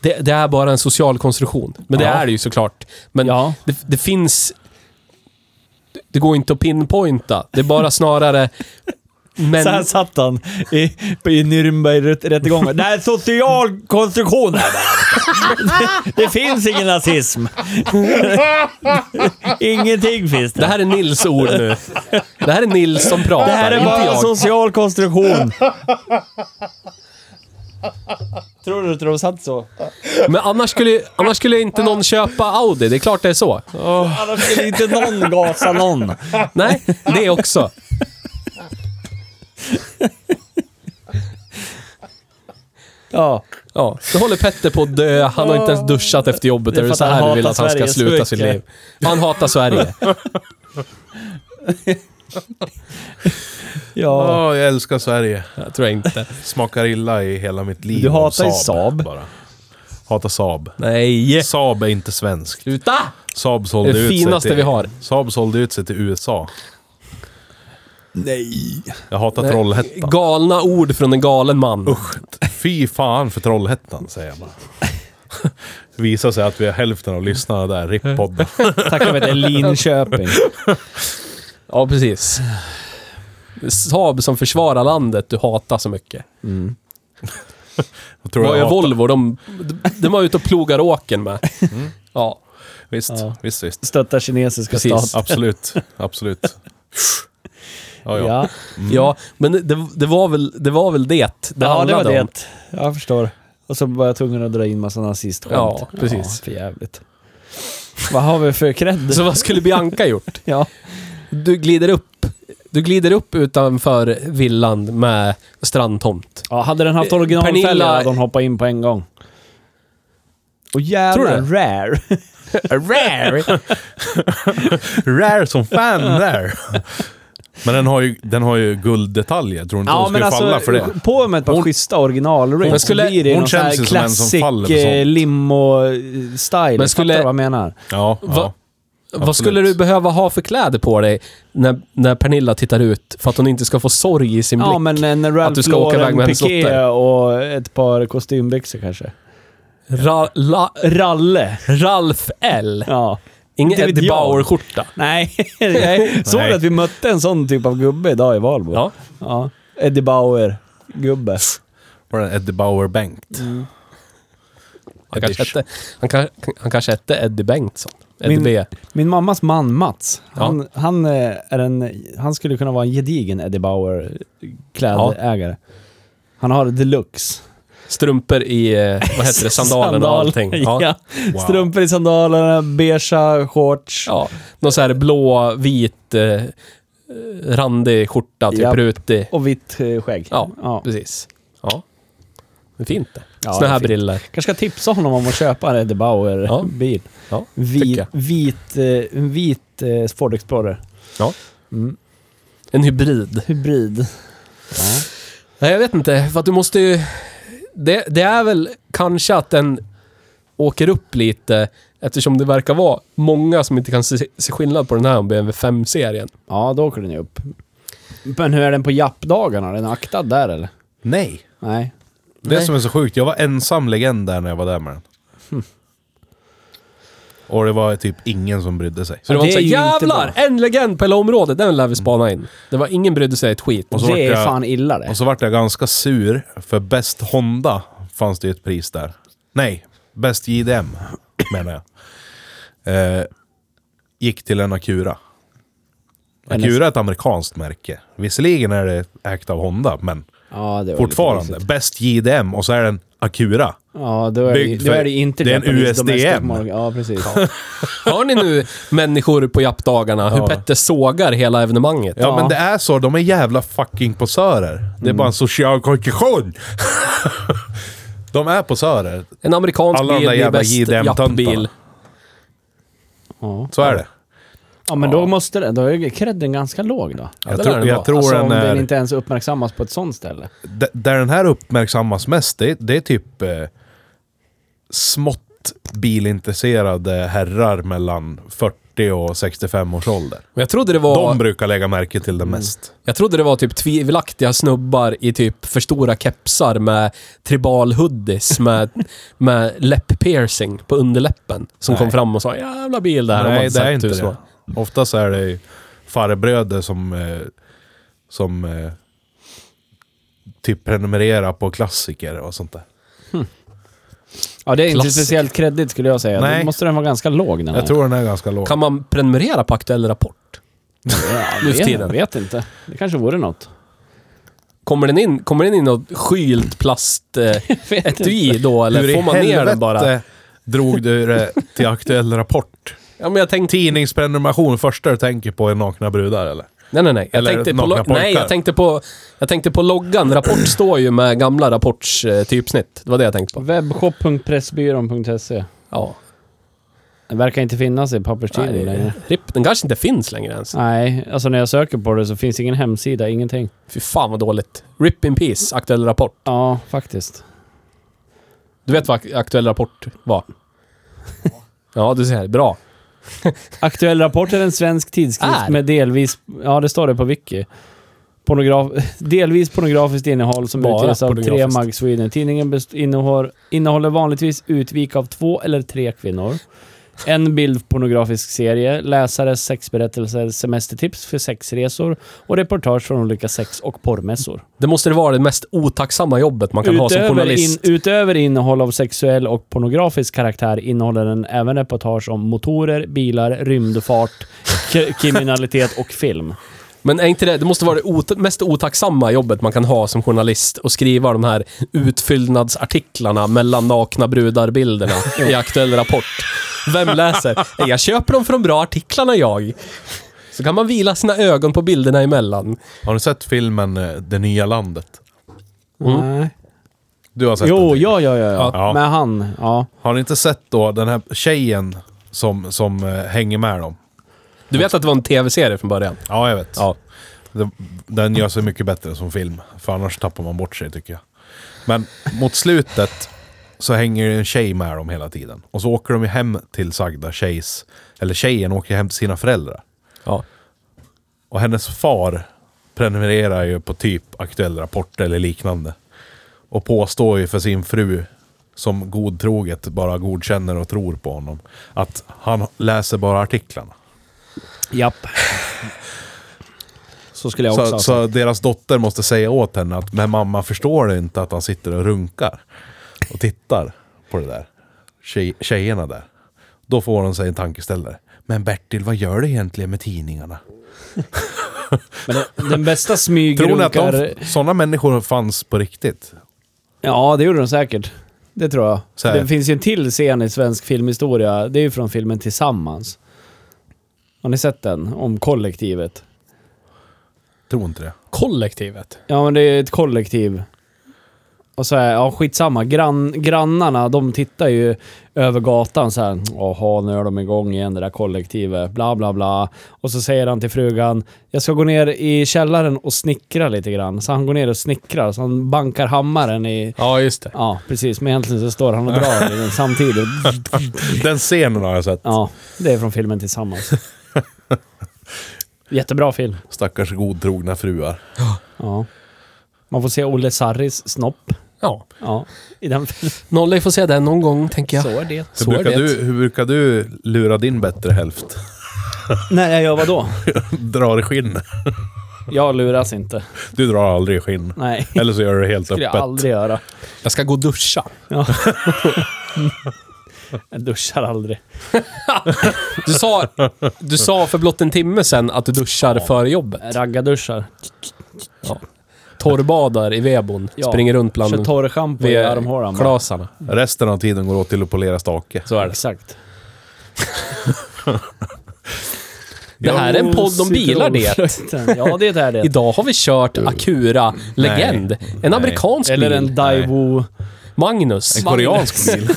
B: Det, det är bara en social konstruktion. Men det
A: Ja.
B: är det ju såklart. Men
A: Ja.
B: det, det finns... Det går inte att pinpointa. Det är bara snarare... Men,
A: Så här satt han i, på- i Nürnberg-rättegången. Det här är social konstruktion här. det, det finns ingen nazism. Ingenting finns
B: det
A: det.
B: här är Nils ord nu. Det här är Nils som pratar,
A: Det här är
B: inte
A: bara en
B: jag.
A: social konstruktion. Tror du inte de satt så?
B: Men annars skulle, annars skulle inte någon köpa Audi. Det är klart det är så.
A: Annars skulle inte någon gasa någon.
B: Nej, det också.
A: Ja,
B: Ja, då håller Petter på att dö. Han har inte ens duschat efter jobbet.
A: Det är
B: Är det
A: för att
B: så
A: han
B: här du vill
A: hatar
B: att han
A: Sverige
B: ska
A: så
B: sluta sitt liv?
A: mycket.
B: Han hatar Sverige.
A: ja.
C: Ja, jag älskar Sverige.
B: Jag tror jag inte.
C: Smakar illa i hela mitt liv.
A: Du
C: av
A: hatar ju Saab.
C: Bara. Hatar Saab.
B: Nej!
C: Saab är inte svensk.
B: Sluta!
C: Saab sålde
B: Det
C: ut
B: finaste
C: sig till,
B: vi har.
C: Saab sålde ut sig till USA.
A: Nej.
C: Jag hatar Trollhättan.
B: Eh, Galna ord från en galen man.
C: Usch, fy fan för Trollhättan, säger jag bara. Det visar sig att vi har hälften av lyssnarna där, RIP-podden.
A: Tack för att det är Linköping.
B: Ja, precis. Saab som försvarar landet du hatar så mycket.
C: Jag tror
B: Vad
C: jag
B: gör
C: hatar-
B: Volvo? De, de, de var ute och plogar åken med. Ja,
C: Visst, visst, visst.
A: Stöttar kinesiska
B: Precis.
A: staten.
C: Absolut, absolut. Ja, ja.
A: Ja,
C: Mm.
B: ja men det, det, var väl, det var väl det det
A: ja det var
B: handlade om.
A: det. Jag förstår. Och så var jag tvungen att dra in massa nazistskämt.
B: Ja, precis.
A: Ja, för jävligt. Vad har vi för cred?
B: Så vad skulle Bianca gjort?
A: Ja.
B: Du glider upp. Du glider upp utanför villan med strandtomt.
A: ja, hade den haft
B: Eh,
A: originalfälgar
B: Pernilla-
A: hade hon hoppat in på en gång. Och jävlar,
B: Tror du
A: rare.
B: Rare!
C: Rare som fan där. Men den har ju, den har ju gulddetaljer. Tror du inte hon skulle
A: alltså,
C: falla för det?
A: på med ett par
C: Hon-
A: schyssta originalrims.
B: alltså, Men skulle-
A: så blir det ju
C: hon
A: någon sån
C: känns ju
A: här
C: som en som
A: classic
C: faller för sånt.
A: eh, limo-style. Men skulle...
B: skulle-
A: Fattar du vad jag menar?
C: Ja, ja.
B: Va- Vad skulle du behöva ha för kläder på dig när, när Pernilla tittar ut för att hon inte ska få sorg i sin blick?
A: Ja, men en Ralph
B: du ska åka iväg med
A: Lauren
B: hennes
A: piké
B: dotter.
A: och ett par kostymbyxor kanske.
B: Ra, la,
A: Ralle.
B: Ralf L.
A: Ja.
B: Ingen
A: Det vet
B: Eddie
A: jag.
B: Bauer-skjorta.
A: Nej, jag såg
C: Nej.
A: att vi mötte en sån typ av gubbe idag i Valbo.
B: Ja.
A: Ja. Eddie Bauer-gubbe.
C: Var den Eddie Bauer Bengt?
B: Han, kanske hette, han, kan, han kanske hette Eddie Bengtsson. Eddie
A: Min-
B: B.
A: Min mammas man Mats, han, han, eh, är en, han skulle kunna vara en gedigen Eddie Bauer-klädägare. Han har deluxe.
B: Strumpor i, eh, vad heter det, sandaler och
A: Sandal.
B: allting.
A: Ja.
B: Ja.
C: Wow.
A: Strumpor i sandalerna, beigea shorts.
B: Ja. Någon så här blå, vit, eh, randig skjorta, typ
A: Japp.
B: rutig.
A: Och vitt eh, skägg.
B: Ja,
A: ja.
B: precis. Ja. Det är fint det.
A: Ja, det
B: Såna
A: är
B: här
A: fint.
B: briller.
A: kanske ska tipsa honom om att köpa en Eddie
B: Ja.
A: Bauer-bil.
B: Ja,
A: Vit,
B: tycker jag.
A: vit, eh, en vit eh, Ford Explorer.
B: Ja.
A: Mm.
B: En hybrid.
A: Hybrid.
B: Nej, jag vet inte. För att du måste ju... Det, det är väl kanske att den åker upp lite eftersom det verkar vara många som inte kan se, se skillnad på den här och BMW 5-serien.
A: Ja, då åker den ju upp. Men hur är den på jappdagarna? Är den aktad där eller?
C: Nej.
A: Nej. Hm.
C: Det
B: Nej.
C: som är så sjukt, jag var ensam legend där när jag var där med den. Och det var typ ingen som brydde sig.
B: Så det var
A: det
B: inte
A: är
B: såhär,
A: ju inte
B: jävlar! En legend på hela området, den lär vi spana in. Det var ingen brydde sig ett skit.
C: Och så vart
A: det är
C: jag-
A: fan illa det.
C: Och så vart jag ganska sur, för bäst Honda fanns det ju ett pris där. Nej, bäst JDM menar jag. Eh, gick till en Acura. Acura är ett amerikanskt märke. Visserligen är det ägt av Honda, men
A: ja, det var lite
C: fortfarande.
A: risigt.
C: Bäst JDM och så är den Acura.
A: Ja, då är, det,
C: Byggd
A: då
C: för-
A: är det inte
C: det är en
A: Japanese
C: USDM.
A: domestic market. Ja, precis.
B: Hör ni nu, människor på jappdagarna, hur Petter sågar hela evenemanget?
C: Ja, men det är så. De är jävla fucking posörer. Det är bara en social konstruktion. de är posörer.
B: En amerikansk
C: Alla de
B: bil
C: där
B: blir
C: jävla
B: bäst
C: JDM-töntarna.
B: jappbil.
A: Ja.
C: Så är det.
A: Ja, men då måste det, då är credden ganska låg då.
B: Ja,
C: Jag,
B: det
C: tror-
B: lär den
C: jag
B: vara.
C: tror
A: alltså om
C: den är...
A: den inte ens uppmärksammas på ett sånt ställe.
C: D- där den här uppmärksammas mest, det, det är typ eh, smått bilintresserade herrar mellan 40 och 65 års ålder.
B: Men jag trodde det
C: De
B: var...
C: brukar lägga märke till det mest.
B: Jag trodde det var typ tvivelaktiga snubbar i typ för stora kepsar med tribal hoodies med, med läpp-piercing på underläppen. Som kom fram och sa “Jävla bil där”.
C: Nej, det är inte det. Oftast är det ju farbröder som, eh, som eh, typ prenumererar på klassiker och sånt där.
A: Ja, det är inte
B: Klassiker.
A: speciellt kreddigt skulle jag säga.
C: Nej.
A: Då måste den vara ganska låg den här.
C: Jag tror den är ganska låg.
B: Kan man prenumerera på Aktuell Rapport?
A: ja,
B: nu för
A: vet-
B: tiden.
A: vet inte. Det kanske vore något.
B: Kommer den in, kommer den in något skylt eh,
A: vet
B: plastetui då? Eller
C: Typ. Hur i
B: får man ner
C: helvete
B: den bara?
C: drog du det till aktuell rapport?
B: Ja, men jag tänkte...
C: Tidningsprenumeration första du tänker på är nakna brudar eller?
B: Nej, nej, nej. Jag
C: Eller
B: tänkte på,
C: nakna
B: lo-
C: pojkar.
B: nej, jag tänkte på... Jag tänkte på loggan. Rapport står ju med gamla Rapports eh, typsnitt. Det var det jag tänkte på.
A: Webbshop.pressbyrån.se.
B: Ja.
A: Den verkar inte finnas i papperstidning längre.
B: Nej, RIP, den kanske inte finns längre ens.
A: Nej, alltså när jag söker på det så finns ingen hemsida, ingenting.
B: Fy fan vad dåligt. RIP in peace, Aktuell Rapport.
A: Ja, faktiskt.
B: Du vet vad ak- Aktuell Rapport var? Ja, du ser. Bra.
A: Aktuell Rapport är en svensk tidskrift
B: Är?
A: med delvis... Ja, det står det på wiki. Pornograf, delvis pornografiskt innehåll som
B: Bara
A: utges av tre
B: pornografiskt.
A: Mag Sweden. Tidningen best- innehåller, innehåller vanligtvis utvik av två eller tre kvinnor. En bild pornografisk serie, läsares sexberättelser, semestertips för sexresor och reportage från olika sex och porrmässor.
B: Det måste det vara det mest otacksamma jobbet man kan ha som
A: Utöver, in,
B: journalist.
A: utöver innehåll av sexuell och pornografisk karaktär innehåller den även reportage om motorer, bilar, rymdfart, k- kriminalitet och film.
B: Men är inte det, det måste vara det ot- mest otacksamma jobbet man kan ha som journalist och skriva de här utfyllnadsartiklarna mellan nakna brudarbilderna i Aktuell Rapport. Vem läser? Nej, Jag köper dem för de bra artiklarna jag. Så kan man vila sina ögon på bilderna emellan.
C: Har du sett filmen eh, Det nya landet?
A: Mm. Nej.
C: Du har sett
A: Jo,
C: den?
A: ja, ja, ja. ja.
C: Ja.
A: Med han. Ja.
C: Har ni inte sett då den här tjejen som, som eh, hänger med dem?
B: Du vet att det var en tv-serie från början?
C: Ja, jag vet.
B: Ja.
C: Den, den gör sig mycket bättre som film, för annars tappar man bort sig tycker jag. Men mot slutet så hänger ju en tjej med dem hela tiden. Och så åker de ju hem till sagda tjejs, eller tjejen åker hem till sina föräldrar.
B: ja.
C: Och hennes far prenumererar ju på typ aktuell rapport eller liknande. Och påstår ju för sin fru, som godtroget bara godkänner och tror på honom, att han läser bara artiklarna.
A: Japp. Så skulle jag också alltså.
C: Så,
A: ha
C: så deras dotter måste säga åt henne att men mamma förstår du inte att han sitter och runkar och tittar på det där. Tjej, tjejerna där. Då får hon sig en tankeställare. Men Bertil, vad gör du egentligen med tidningarna?
A: Men den, den bästa
C: Tror ni att de,
A: smygrunkar...
C: sådana människor fanns på riktigt?
A: Ja, det gjorde de säkert. Det tror jag.
C: Så här.
A: Det finns ju en till scen i svensk filmhistoria. Det är ju från filmen Tillsammans. Har ni sett den? Om kollektivet.
C: Tror inte det.
B: Kollektivet.
A: Ja, men det är ett kollektiv. Och så här, ja skitsamma. Grann, grannarna, de tittar ju över gatan så här. Jaha, nu är de igång igen det där kollektivet. Bla, bla, bla. Och så säger han till frugan, jag ska gå ner i källaren och snickra lite grann. Så han går ner och snickrar, så han bankar hammaren i...
B: Ja, just det.
A: Ja, precis. Men egentligen så står han och drar i den samtidigt.
C: Den scenen har jag sett.
A: Ja, det är från filmen Tillsammans. Jättebra film.
C: Stackars godtrogna fruar.
A: Ja. Man får se Olle Sarris snopp.
B: Ja.
A: Ja, i den filmen.
B: Nolle får säga det någon gång, tänker jag.
A: Så är det.
C: Hur
B: Så är
C: brukar,
B: det.
C: du, hur brukar du lura din bättre hälft?
A: När jag gör vadå?
C: Drar i skinn.
A: Jag luras inte.
C: Du drar aldrig i skinn.
A: Nej. Det
C: Eller så gör du det helt
A: skulle jag
C: öppet.
A: aldrig göra.
B: Jag ska gå och duscha.
A: Ja. Jag duschar aldrig.
B: Du sa, du sa för blott en timme sedan att du duschar före jobbet.
A: Raggarduschar.
B: Torrbadar i vebon.
A: Ja.
B: Springer runt bland
A: Kör torrschampo i armhålan. bara.
B: klasarna.
C: Resten av tiden går åt till att polera stake.
B: Så är det.
A: Exakt.
B: Det här är en podd om bilar det.
A: Citronfrukten. Ja, det är det.
B: Idag har vi kört Acura Legend. En amerikansk
A: Eller
B: bil.
A: en Daiwo...
B: Magnus.
C: En koreansk bil.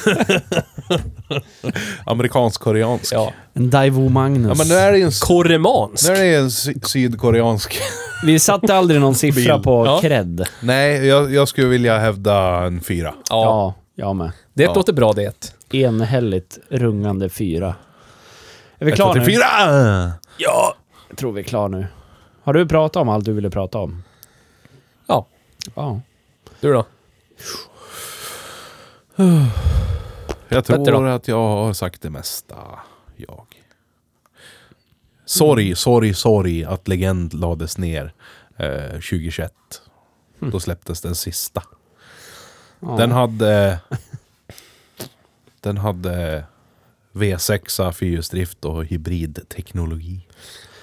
C: Amerikansk-koreansk.
B: Ja.
A: En Daivo Magnus.
C: Ja, men nu är det ju en,
B: Koremansk.
C: nu är det ju en sy- sydkoreansk.
A: Vi satte aldrig någon siffra
C: Bil.
A: på
B: Ja.
A: cred. Ja,
C: Nej, jag, jag skulle vilja hävda en fyra.
B: Ja,
A: ja jag med.
B: det
C: Ja.
B: låter bra det.
A: Enhälligt rungande fyra. Är vi
C: Ett,
A: klara
C: två,
A: nu?
C: tre, Fyra!
B: Ja.
A: Jag tror vi är klara nu. Har du pratat om allt du ville prata om?
B: Ja.
A: Ja.
B: Du då?
C: Jag
B: Petter då?
C: tror att jag har sagt det mesta. Jag. Sorry, sorry, sorry att Legend lades ner eh, 2021.
A: Hm.
C: Då släpptes den sista. Den hade... den hade V6, fyrhjulsdrift och hybridteknologi.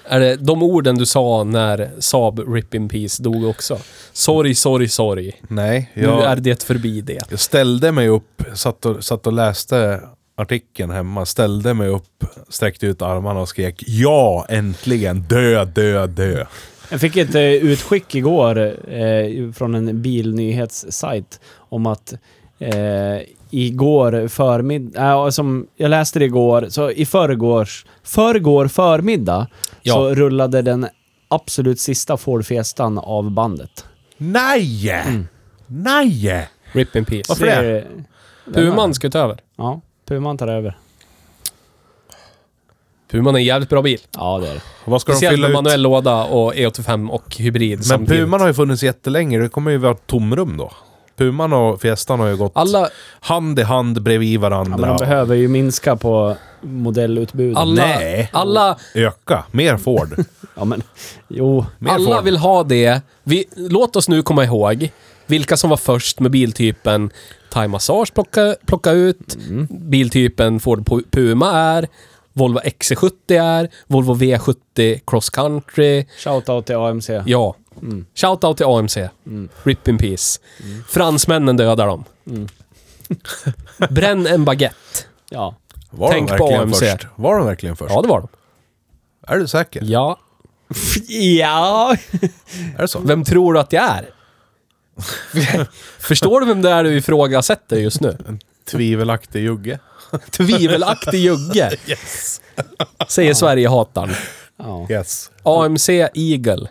B: Är det de orden du sa när Saab Rip In Peace dog också? Sorry, sorry, sorry.
C: Nej,
B: Nu är
C: jag,
B: det förbi det.
C: jag ställde mig upp, satt och, satt och läste artikeln hemma, ställde mig upp, sträckte ut armarna och skrek ja, äntligen, dö, dö, dö.
A: Jag fick ett eh, utskick igår eh, från en bilnyhetssajt om att eh, igår förmiddag, äh, som jag läste det igår, så i förrgårs, förrgår förmiddag
B: Ja.
A: så rullade den absolut sista Ford Fiestan av bandet.
C: Nej!
B: Mm.
C: Nej!
B: Rip In Peace.
C: Varför det?
B: Puman ska ta över.
A: Ja, Puman tar över.
B: Puman är en jävligt bra bil.
A: Ja, det är det.
C: Vad ska de
B: Speciellt
C: fylla
B: med
C: ut?
B: manuell låda och E85 och hybrid
C: Men
B: samtidigt.
C: Puman har ju funnits jättelänge, det kommer ju vara ett tomrum då. Puman och Fiestan har ju gått
B: Alla,
C: hand i hand bredvid
A: Ja, men
C: varandra.
A: de behöver ju minska på modellutbudet.
B: alla,
C: Nej.
B: alla,
C: Öka, mer Ford.
A: Ja, men jo.
C: Mer
B: alla
C: Ford.
B: vill ha det. Vi, låt oss nu komma ihåg vilka som var först med biltypen Time Massage plocka, plocka ut, biltypen Ford Pu- Puma är, Volvo XC70 är, Volvo V70 Cross Country.
A: Shoutout till AMC.
B: Ja. Shoutout till AMC. Rip in peace. Fransmännen dödar dem. Bränn en baguette.
A: Ja.
C: Var
B: Tänk på
C: de verkligen
B: AMC.
C: först? Var de verkligen först?
B: Ja, det var de.
C: Är du säker?
B: Ja.
A: Ja.
C: Är det så?
B: Vem tror du att jag är? Förstår du vem det är du ifrågasätter just nu?
C: Tvivelaktig jugge.
B: Tvivelaktig jugge.
C: Yes.
B: Säger Sverigehataren.
A: ja.
C: Yes.
B: AMC Eagle.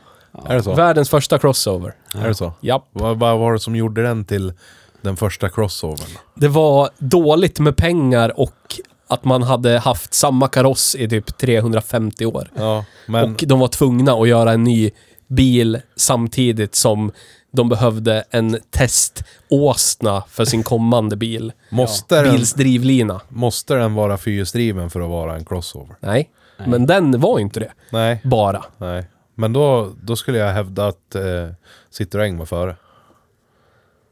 C: Är det så?
B: Världens första crossover.
C: Är det så?
B: Japp.
C: Vad, vad var det som gjorde den till den första crossovern?
B: Det var dåligt med pengar och att man hade haft samma kaross i typ 350 år.
C: Ja, men...
B: Och de var tvungna att göra en ny bil samtidigt som de behövde en teståsna för sin kommande bil.
C: måste, den,
B: Bils drivlina.
C: måste den vara fyrhjulsdriven för att vara en crossover?
B: Nej. Men den var inte det.
C: Nej.
B: Bara.
C: Nej, men då, då skulle jag hävda att eh, Citroën var före.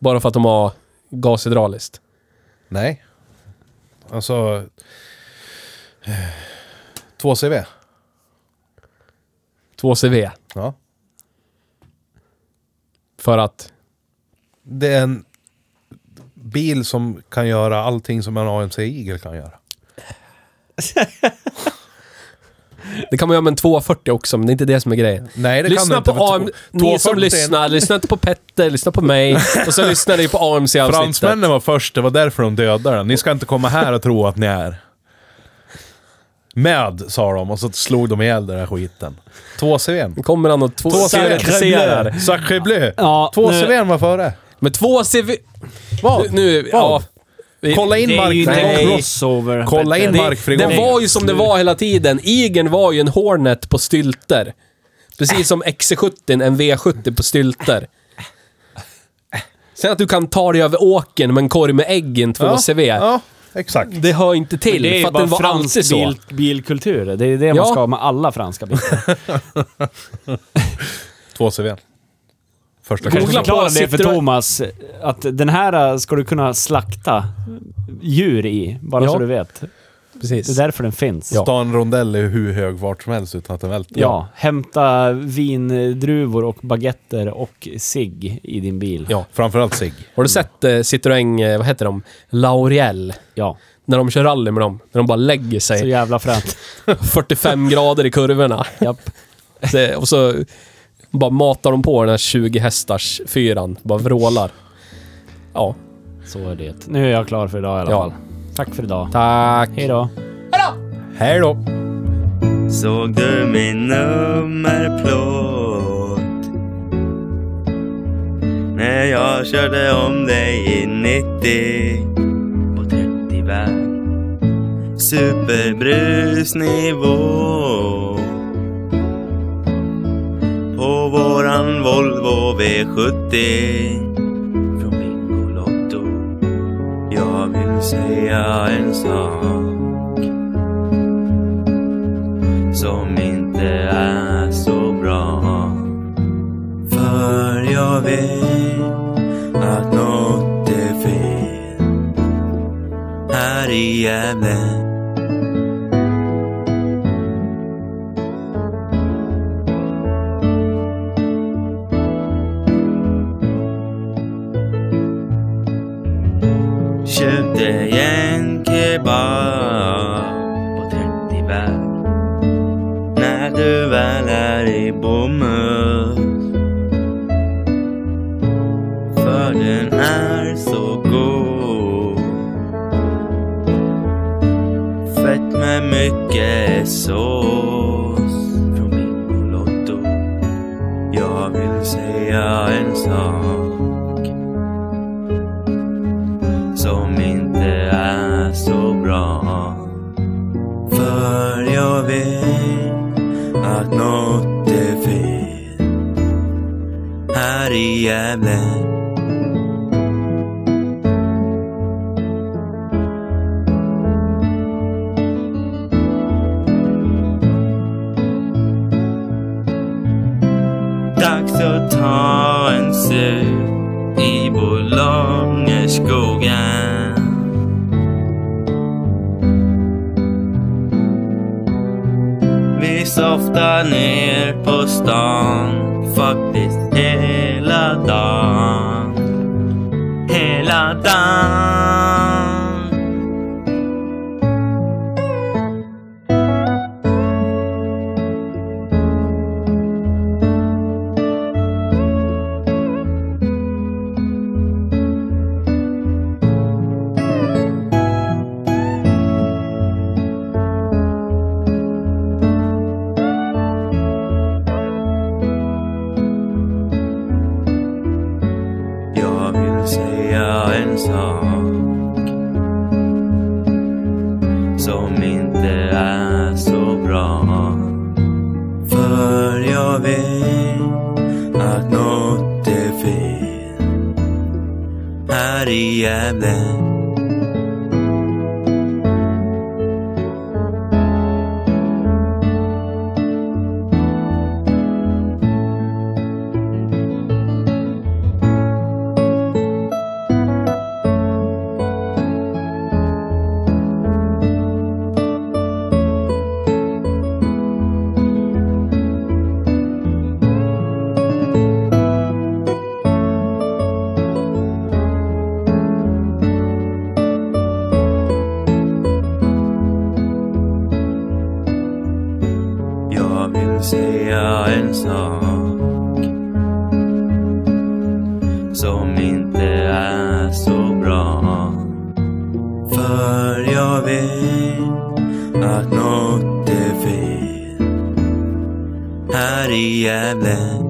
B: Bara för att de har gashydrauliskt.
C: Nej. Alltså... eh, 2CV.
B: 2CV.
C: Ja.
B: För att...
C: Det är en bil som kan göra allting som en AMC Eagle kan göra.
B: Det kan man göra med en 240 också, men det är inte det som är grejen.
C: Nej, det
B: lyssna
C: kan det
B: på
C: inte.
B: AM...
C: för to-
B: Ni som
C: 240
B: lyssnar, lyssna inte på Petter, lyssna på mig. Och så lyssnar ni på AMC-avsnittet.
C: Fransmännen var först, det var därför de dödade den. Ni ska inte komma här och tro att ni är... Med, sa de, och så slog de ihjäl den här skiten. 2CV'n.
B: Kommer han och 2CV?
C: Sacré bleu!
A: Ja, nu-
C: 2CV'n var före.
B: Men två CV...
C: Vad?
B: Nu, ja.
C: Vad?
B: Vi-
C: Kolla in
A: Det är ju
C: Mark.
A: inte
B: Nej.
A: en crossover.
C: Kolla in
B: Det,
C: Markfrigången.
B: den var ju som det var hela tiden. Eagern var ju en Hornet på stylter. Precis som XC70 en V70 på stylter. Sen att du kan ta dig över åkern med en korg med ägg i en 2CV.
C: Ja, exakt.
B: Det hör inte till,
A: Det är
B: för
A: ju
B: att den
A: bara
B: var
A: fransk
B: alltid så.
A: bil, bilkultur. Det är det
B: Ja.
A: man ska ha med alla franska bilar.
C: 2CV. Första
B: Googla
A: Kanske
C: kanske.
B: på
A: förklara det för
B: Citroën.
A: Thomas, att den här äh, ska du kunna slakta djur i. Bara
B: Ja.
A: så du vet. Det är
B: Precis.
A: därför den finns.
B: Ja.
C: Ta en rondell är hur hög vart som helst utan att den välter.
A: Ja, hämta vindruvor och baguetter och cigg i din bil.
B: Ja.
C: Framförallt sig.
B: Har du sett eh, Citroën, eh, vad heter de? Lauriel.
A: Ja,
B: När de kör rally med dem. När de bara lägger
A: så
B: sig.
A: jävla fränt.
B: 45 grader i kurvorna.
A: Japp.
B: Det, och så bara matar de på den här 20 hästars fyran. Bara vrålar. Ja,
A: Så är det. Nu är jag klar för idag i alla
B: Ja.
A: fall.
E: Tack för idag.
B: Tack.
E: Hej då.
B: Hej då.
F: Såg du min nummerplåt? När jag körde om dig i 90 på 30-väg Superbrusnivå På våran Volvo V70 Från Bingolotto Jag vill säga en sak som inte är så bra. För jag vet att något är fel här i Gävle. Köpte en kebab på 30 bär när du väl är i bommull. För den är så god. Fett med mycket sås från Bingolotto. Jag vill säga en sak som inte är så bra. För jag vet att något är fel här i Gävle. Dags att ta en sup i Bolognerskogen. Vi softar ner på stan Faktiskt hela dagen Hela dagen Jag vill säga en sak som inte är så bra. För jag vet att något är fel här i Gävle. Jag vill säga en sak som inte är så bra. För jag vet att något är fel här i Gävle.